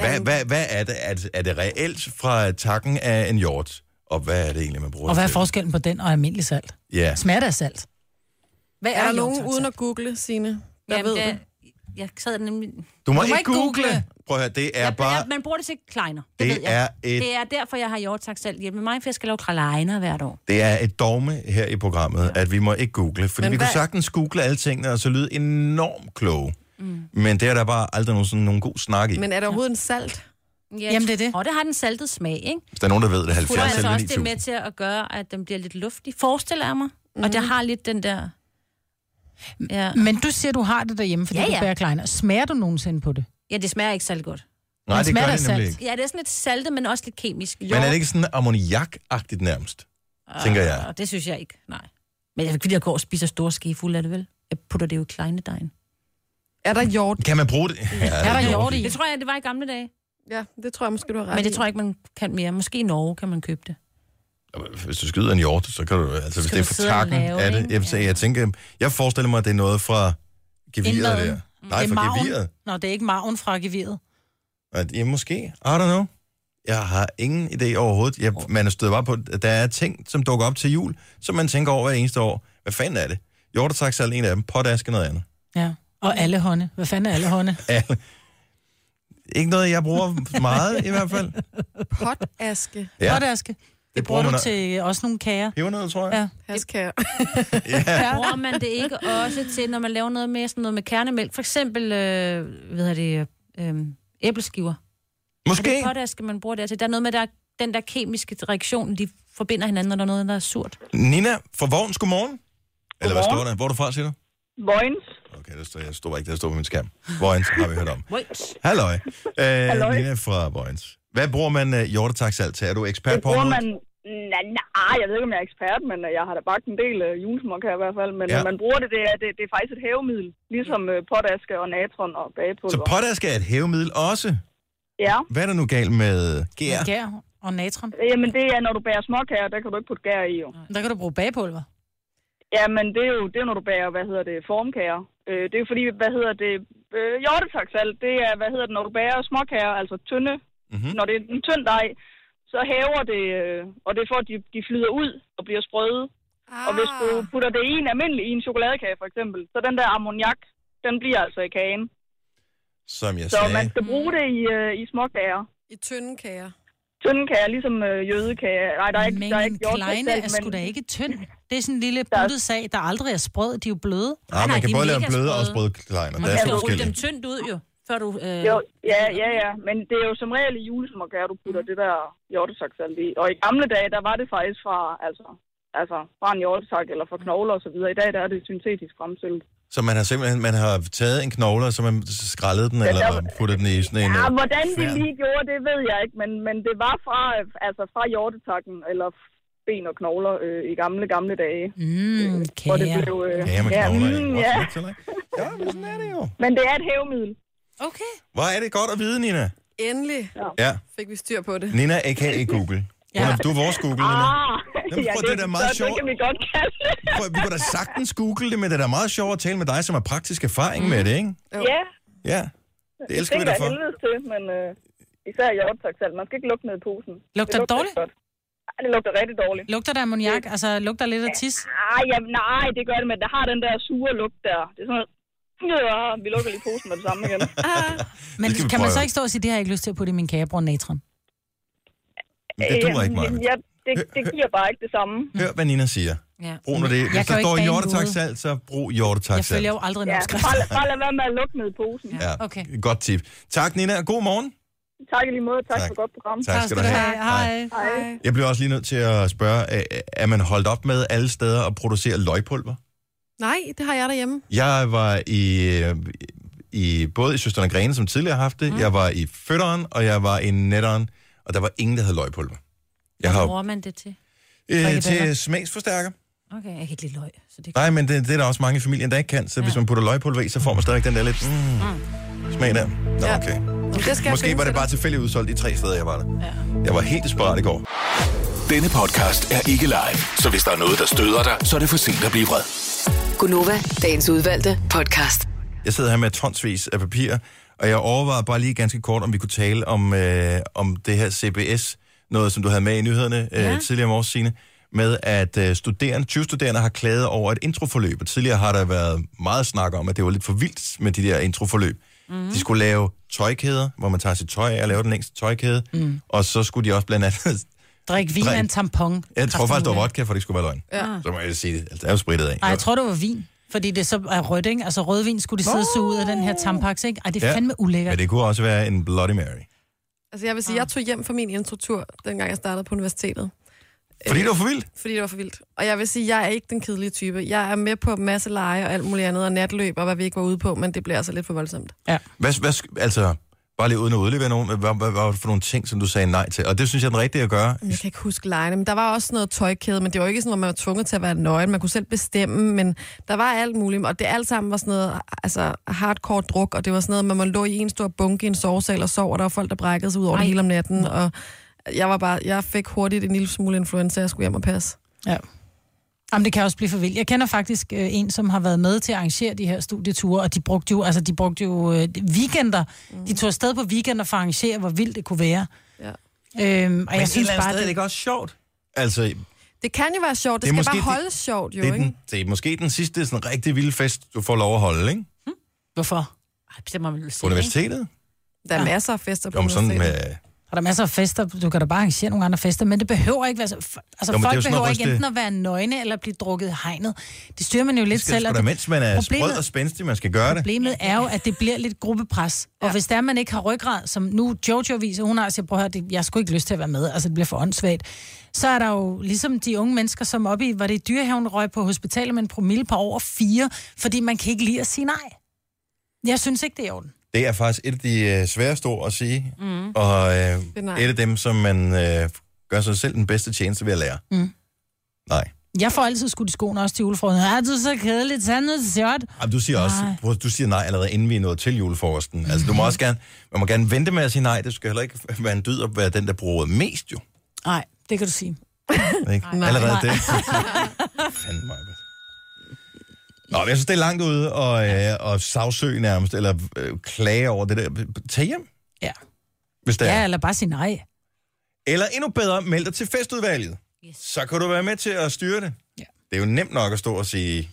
hvad, hvad, hvad er det? Er, det- er det reelt fra takken af en hjort? Og hvad er det egentlig, man bruger Og det hvad er til? forskellen på den og almindelig salt? Ja. Smager det af salt? Hvad Er der nogen uden at google, sine der Jamen, ved det- det? Jeg sad nemlig... Du må, Du ikke google. google. Prøv at høre, det er Jeg, bare... jeg, man bruger det til kleiner. Det, Det ved jeg. er et- det er derfor, jeg har hjortak selv hjemme med mig, for jeg skal lave kleiner hvert år. Det er et dogme her i programmet, ja. at vi må ikke google. Fordi Men vi hvad? Men kunne hvad- sagtens google alle tingene, og så lyde enormt kloge. Mm. Men det er der bare aldrig nogen, sådan, nogen god snak i. Men... Men er der overhovedet en salt? Ja, Jamen, det er det. Og det har den saltede smag, ikke? Hvis der er nogen, der ved det, Putter 70 altså eller også det med 9000. til at gøre, at den bliver lidt luftig, forestiller jeg mig. Mm. Og det har lidt den der... Ja. Men du siger, du har det derhjemme, fordi Ja, ja, ja. ja. du bærer kleiner. Smager du nogensinde på det? ja, det smager ikke særlig godt. Nej, Men det gør smager det af nemlig salt. ikke. Ja, det er sådan lidt saltet, men også lidt kemisk. Jo. Men er det ikke sådan ammoniak-agtigt nærmest? tænker jeg. Og det synes jeg ikke, nej. Men jeg kan ikke, fordi jeg går og spiser store skefulde af det vel. Jeg putter det jo i kleinedejen. Er der hjort? Kan man bruge det? Ja, Er der det hjort i? Det tror jeg, det var i gamle dage. Ja, det tror jeg måske, du har ret Men det i. tror jeg ikke, man kan mere. Måske i Norge kan man købe det. Hvis du skyder en hjort, så kan du... Altså, hvis Skal det er du for sidde og takken lave, af det. ikke? Jeg, jeg, jeg, tænker, jeg forestiller mig, at det er noget fra geviret Indmaden. der. Nej, det fra er marven. geviret. Nå, det er ikke marven fra geviret. At, ja, måske. I don't know. Jeg har ingen idé overhovedet. Jeg, man er stødt bare på, at der er ting, som dukker op til jul, som man tænker over hver eneste år. Hvad fanden er det? Hjortetax er en af dem. Potask er noget andet. Ja. Og alle hånde. Hvad fanden er alle hånde? Alle. Ikke noget, jeg bruger meget i hvert fald. Potaske. Ja. Ja. Potaske. Det bruger bruger man du al- til også nogle kager. Pebernød, tror jeg. Ja. Haskær. Bruger man det ikke også til, når man laver noget med, sådan noget med kernemælk? For eksempel, øh, hvad er det, øh, æbleskiver. Er det Måske. potaske, man bruger der til? Der er noget med, der, den der kemiske reaktion, de forbinder hinanden, når der er noget, der er surt. Nina fra Vogns, godmorgen. Eller hvad Godmorgen. står der? Hvor er du fra, siger du? Vojens. Okay, der står, jeg står ikke, der står på min skærm. Vojens har vi hørt om. Halløj. Øh, Nina fra Vojens. Hvad bruger man uh, hjortetaxalt til? Er du ekspert Det på bruger området? man... Nej, nej, jeg ved ikke, om jeg er ekspert, men øh, jeg har da bagt en del øh, julesmok her i hvert fald. Men Ja. ja. man bruger det, det er, det, det er faktisk et hævemiddel. Ligesom øh, potaske og natron og Så bagepulver. potask er et hævemiddel også. ja. Hvad er der nu galt med gær? Gær og natron. Jamen det er, når du bærer småkager, der kan du ikke putte gær i jo. Der kan du bruge bagepulver. Jamen det er jo, det er, når du bærer, hvad hedder det, formkager. Øh, det er jo fordi, hvad hedder det, øh, hjortetaksalt, det er, hvad hedder det, når du bærer småkager, altså tynde, Mm-hmm. når det er en tynd dej, så hæver det, øh, og det er for, at de, de flyder ud og bliver sprøde. Ah. Og hvis du putter det i en almindelig, i en chokoladekage for eksempel, så den der ammoniak, den bliver altså i kagen. Som jeg Så sagde. man skal bruge det i, øh, i småkager. Ah, I tynde kager. Tynde kager, ligesom øh, jødekager. Nej, der er ikke, men der er en ikke hjortetaksalt, kleine er sgu da ikke tynd. Det er sådan en lille buttet sag, der aldrig er sprød. De er jo bløde. Mm, Ah, nej, man kan de er både lave mega bløde og sprøde sprøde. kleiner. Man Der er kan så jo rulle dem forskellige. tyndt ud jo, før du... Øh, Jo, ja, Mm. ja, ja. Men det er jo som regel i julesmåkager, du putter det der hjortesaksalt i. Og i gamle dage, der var det faktisk fra, altså, altså fra en hjortesak eller fra knogler og så videre. I dag, der er det syntetisk fremstillet. Så man har simpelthen man har taget en knogle, og så man skrællet den, eller der- puttet den i sådan en... Ja, øh, hvordan de kværn. lige gjorde, det ved jeg ikke. Men, men det var fra, øh, altså fra hjortetakken eller ben og knogler øh, i gamle, gamle dage. Mm, Hvor det kager. blev... Øh, Ja, med knogler. i. mm, Hvor ja. smukt, eller? Ja, men sådan er det jo. Men det er et hævemiddel. Okay. Hvor er det godt at vide, Nina? Endelig Ja, fik vi styr på det. Nina, a.k.a. Google. Hun er, du er vores Google, Nina. Ah, Jamen, prøv, det er da meget så, sjovt. Så kan vi godt kalde det. Prøv, vi kunne da sagtens google det, men det er da meget sjovt at tale med dig, som har praktisk erfaring med det, ikke? Ja, Ja, det elsker vi det dig er for. helvedes til, men øh, især hjortetaksalt. Man skal ikke lugte ned i posen. Lugter det dårligt? ikke godt. Nej, det lugter rigtig dårligt. Lugter der ammoniak? Altså, lugter lidt af tis? Ej, ja, nej, det gør det, men det har den der sure lugt der. Det er sådan noget, Ja, vi lukker lige posen med det samme igen. Men skal vi kan man prøve. så ikke stå og sige, det har jeg ikke lyst til at putte i min kagebrun natron? Men det duer ikke, Maja. Ja, det, det giver bare ikke det samme. Hør, hvad Nina siger. Ja. Brug nu det. kan Hvis jo der ikke står bage en hjortetaksalt, så brug Jeg hjortetaksalt. følger jo aldrig en Ja, opskrift. bare, bare lad være med at lukke ned i posen. Ja. Ja, Okay. Godt tip. Tak, Nina. God morgen. Tak i lige måde, tak, Tak. tak. for et godt program. Tak skal du have. Hej. Hej. Hej. Jeg bliver også lige nødt til at spørge, øh, er man holdt op med alle steder at producere løgpulver? Nej, det har jeg derhjemme. Jeg var i, øh, i både i Søsterne Grene, som tidligere har haft det, mm. jeg var i Føtteren, og jeg var i Netteren, og der var ingen, der havde løgpulver. Jeg Hvad har bruger man det til? øh, Frikadeller. til smagsforstærker. Okay, jeg kan ikke lide løg, så det Nej, men det, det er der også mange i familien, der ikke kan, så ja. hvis man putter løgpulver i, så får man stadig den der lidt mm, smag der. Nå, Ja. okay. Det skal jeg Måske finde var det til bare tilfældigt udsolgt de tre steder, jeg var der. Ja. Jeg var helt desperat i går. Denne podcast er ikke live, så hvis der er noget, der støder dig, så er det for sent at blive vred. Gunova, dagens udvalgte podcast. Jeg sidder her med tonsvis af papir, og jeg overvejede bare lige ganske kort, om vi kunne tale om, øh, om det her CBS, noget som du havde med i nyhederne øh, ja. tidligere om års, Signe, med at øh, studerende, 20 studerende har klaget over et introforløb. Og tidligere har der været meget snak om, at det var lidt for vildt med de der introforløb. Mm. De skulle lave tøjkæder, hvor man tager sit tøj af og laver den længste tøjkæde, mm. og så skulle de også blandt andet... Drik vin Drik. af en tampon. Jeg tror faktisk, det var vodka, for det ikke skulle være løgn. Ja. Så må jeg sige, at det er jo spritet af. Nej, jeg tror, det var vin. Fordi det så er rødt, ikke? Altså rødvin skulle de sidde og suge ud af den her tampax, ikke? Ej, det er Ja. ja. fandme ulækkert. Men det kunne også være en Bloody Mary. Altså, jeg vil Ah. sige, jeg tog hjem fra min introtur, dengang jeg startede på universitetet. Fordi Øh, det var for vildt. Fordi det var for vildt. Og jeg vil sige, jeg er ikke den kedelige type. Jeg er med på en masse lege og alt muligt andet, og natløb og hvad vi ikke var ude på, men det bliver altså lidt for voldsomt. Hvad, hvad, sk- altså, bare lige uden at udlevere nogen, hvad, hvad, hvad var det for nogle ting, som du sagde nej til? Og det synes jeg er den rigtige at gøre. Jeg kan ikke huske legene, men der var også noget tøjkæde, men det var ikke sådan, at man var tvunget til at være nøgen. Man kunne selv bestemme, men der var alt muligt. Og det alt sammen var sådan noget altså, hardcore druk, og det var sådan noget, man man lå i en stor bunke i en sovesal og sov, og der var folk, der brækkede sig ud over det hele om natten. Og jeg, var bare, jeg fik hurtigt en lille smule influenza, jeg skulle hjem og passe. Ja. Jamen, det kan også blive for vildt. Jeg kender faktisk øh, en, som har været med til at arrangere de her studieture, og de brugte jo, altså, de brugte jo øh, weekender. Mm. De tog afsted på weekender for at arrangere, hvor vildt det kunne være. Ja. Øhm, og jeg synes bare, det, ikke også sjovt? Altså, det Det kan jo være sjovt. Det, Det er det skal bare måske det- holdes sjovt, jo, er, ikke? den, det er måske den sidste sådan rigtig vilde fest, du får lov at holde, ikke? Hvorfor? Ej, det må man vel På sige, ikke? universitetet? Der er masser af fester på Jo, men sådan med... universitetet. Jo, Og der er masser af fester. Du kan da bare arrangere nogle andre fester, men det behøver ikke være... så- f- Jo, Altså, jo, men det er jo folk sådan noget behøver ikke ryste- enten at være nøgne eller blive drukket i hegnet. Det styrer man jo lidt det skal selv. sgu og da, det- mens man er sprød Problemet- og spændstig, man skal gøre det. Problemet er jo, at det bliver lidt gruppepres. Og hvis der man ikke har ryggrad, som nu Jojo viser, hun har, så prøv at høre, det, jeg skulle ikke lyst til at være med, altså det bliver for åndssvagt. Så er der jo ligesom de unge mennesker, som oppe i, var det i dyrehaven, røg på hospitalet med en promille på over fire, fordi man kan ikke lide at sige nej. Jeg synes ikke, det er i orden. Det er faktisk et af de øh, sværeste ord at sige, mm. og øh, er nej. et af dem, som man øh, gør sig selv den bedste tjeneste ved at lære. Mm. Nej. Jeg får altid skudt i skoene også til julefrokosten. Ja, du er så kedeligt, sand og sjovt. Jamen, du siger også, Nej. Mhm. nej. du siger nej allerede inden vi er nået til julefrokosten. Altså, du må også gerne, man må gerne vente med at sige nej. Det skal heller ikke være en dyd at være den, der bruger mest jo. Nej, det kan du sige. Ikke? Nej. Allerede Nej. det. Fanden mig. Nå, men jeg synes, det er langt ude og, øh, og sagsøge nærmest, eller øh, klage over det der. Tag hjem, Ja. hvis det ja, er. eller bare sige nej. Eller endnu bedre, meld dig til festudvalget. Yes. Så kan du være med til at styre det. Ja. Det er jo nemt nok at stå og sige,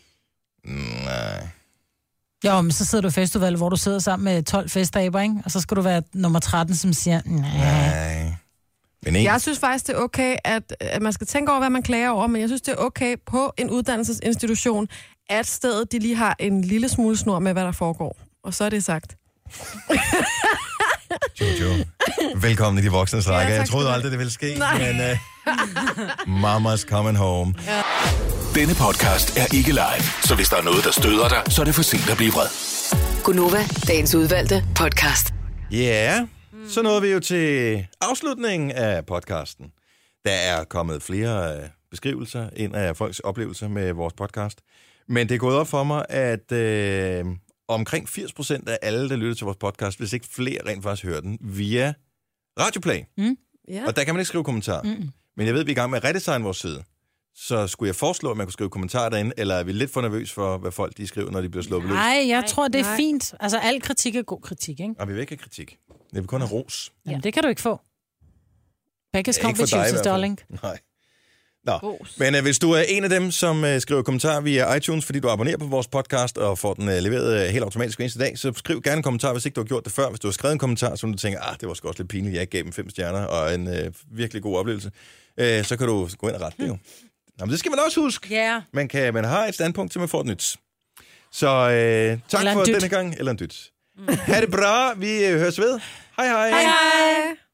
"Mm, nej. Jo, men så sidder du i festival, hvor du sidder sammen med 12 festaber, ikke? Og så skal du være nummer 13, som siger, nej. nej. Men en, Jeg synes faktisk, det er okay, at, at man skal tænke over, hvad man klager over, men jeg synes, det er okay på en uddannelsesinstitution, at stedet de lige har en lille smule snor med, hvad der foregår. Og så er det sagt. Jojo. Velkommen i de voksnes Ja, række. tak jeg skal troede du aldrig, det ville ske, Nej. men uh, mama's coming home. Denne podcast er ikke live, så hvis der er noget, der støder dig, så er det for sent at blive vred. Gunova, dagens udvalgte podcast. Ja, yeah. så nåede vi jo til afslutningen af podcasten. Der er kommet flere øh, beskrivelser ind af folks oplevelser med vores podcast. Men det er gået op for mig, at øh, omkring 80% af alle, der lytter til vores podcast, hvis ikke flere rent faktisk hører den, via Radioplay. Ja. Og der kan man ikke skrive kommentarer. Mm. Men jeg ved, at vi er i gang med at redesigne vores side. Så skulle jeg foreslå, at man kunne skrive kommentarer derinde, eller er vi lidt for nervøs for, hvad folk de skriver, når de bliver sluppet løs? Nej, jeg tror, det er nej. fint. Altså, al kritik er god kritik, ikke? Og vi vil ikke have kritik. Jeg vil kun have ros. Jamen, det kan du ikke få. Beggars Ja, come ikke for with dig i chooses, hvert fald. darling. Nej. Nå. Men øh, hvis du er en af dem, som øh, skriver kommentarer via iTunes, fordi du abonnerer på vores podcast og får den øh, leveret øh, helt automatisk hver eneste dag, så skriv gerne en kommentar, hvis ikke du har gjort det før. Hvis du har skrevet en kommentar, som du tænker, ah, det var sgu også lidt pinligt, jeg ikke gav dem fem stjerner og en øh, virkelig god oplevelse, øh, så kan du gå ind og rette det jo. Nå, men det skal man også huske. Hmm. Ja. Man, kan, man har et standpunkt, til man får et nyt. Så øh, tak Eller en for dyt. Hmm. denne gang. Eller en dyt. Mm. Ha' det bra. Vi øh, høres ved. Hej hej. hej, hej. Hej.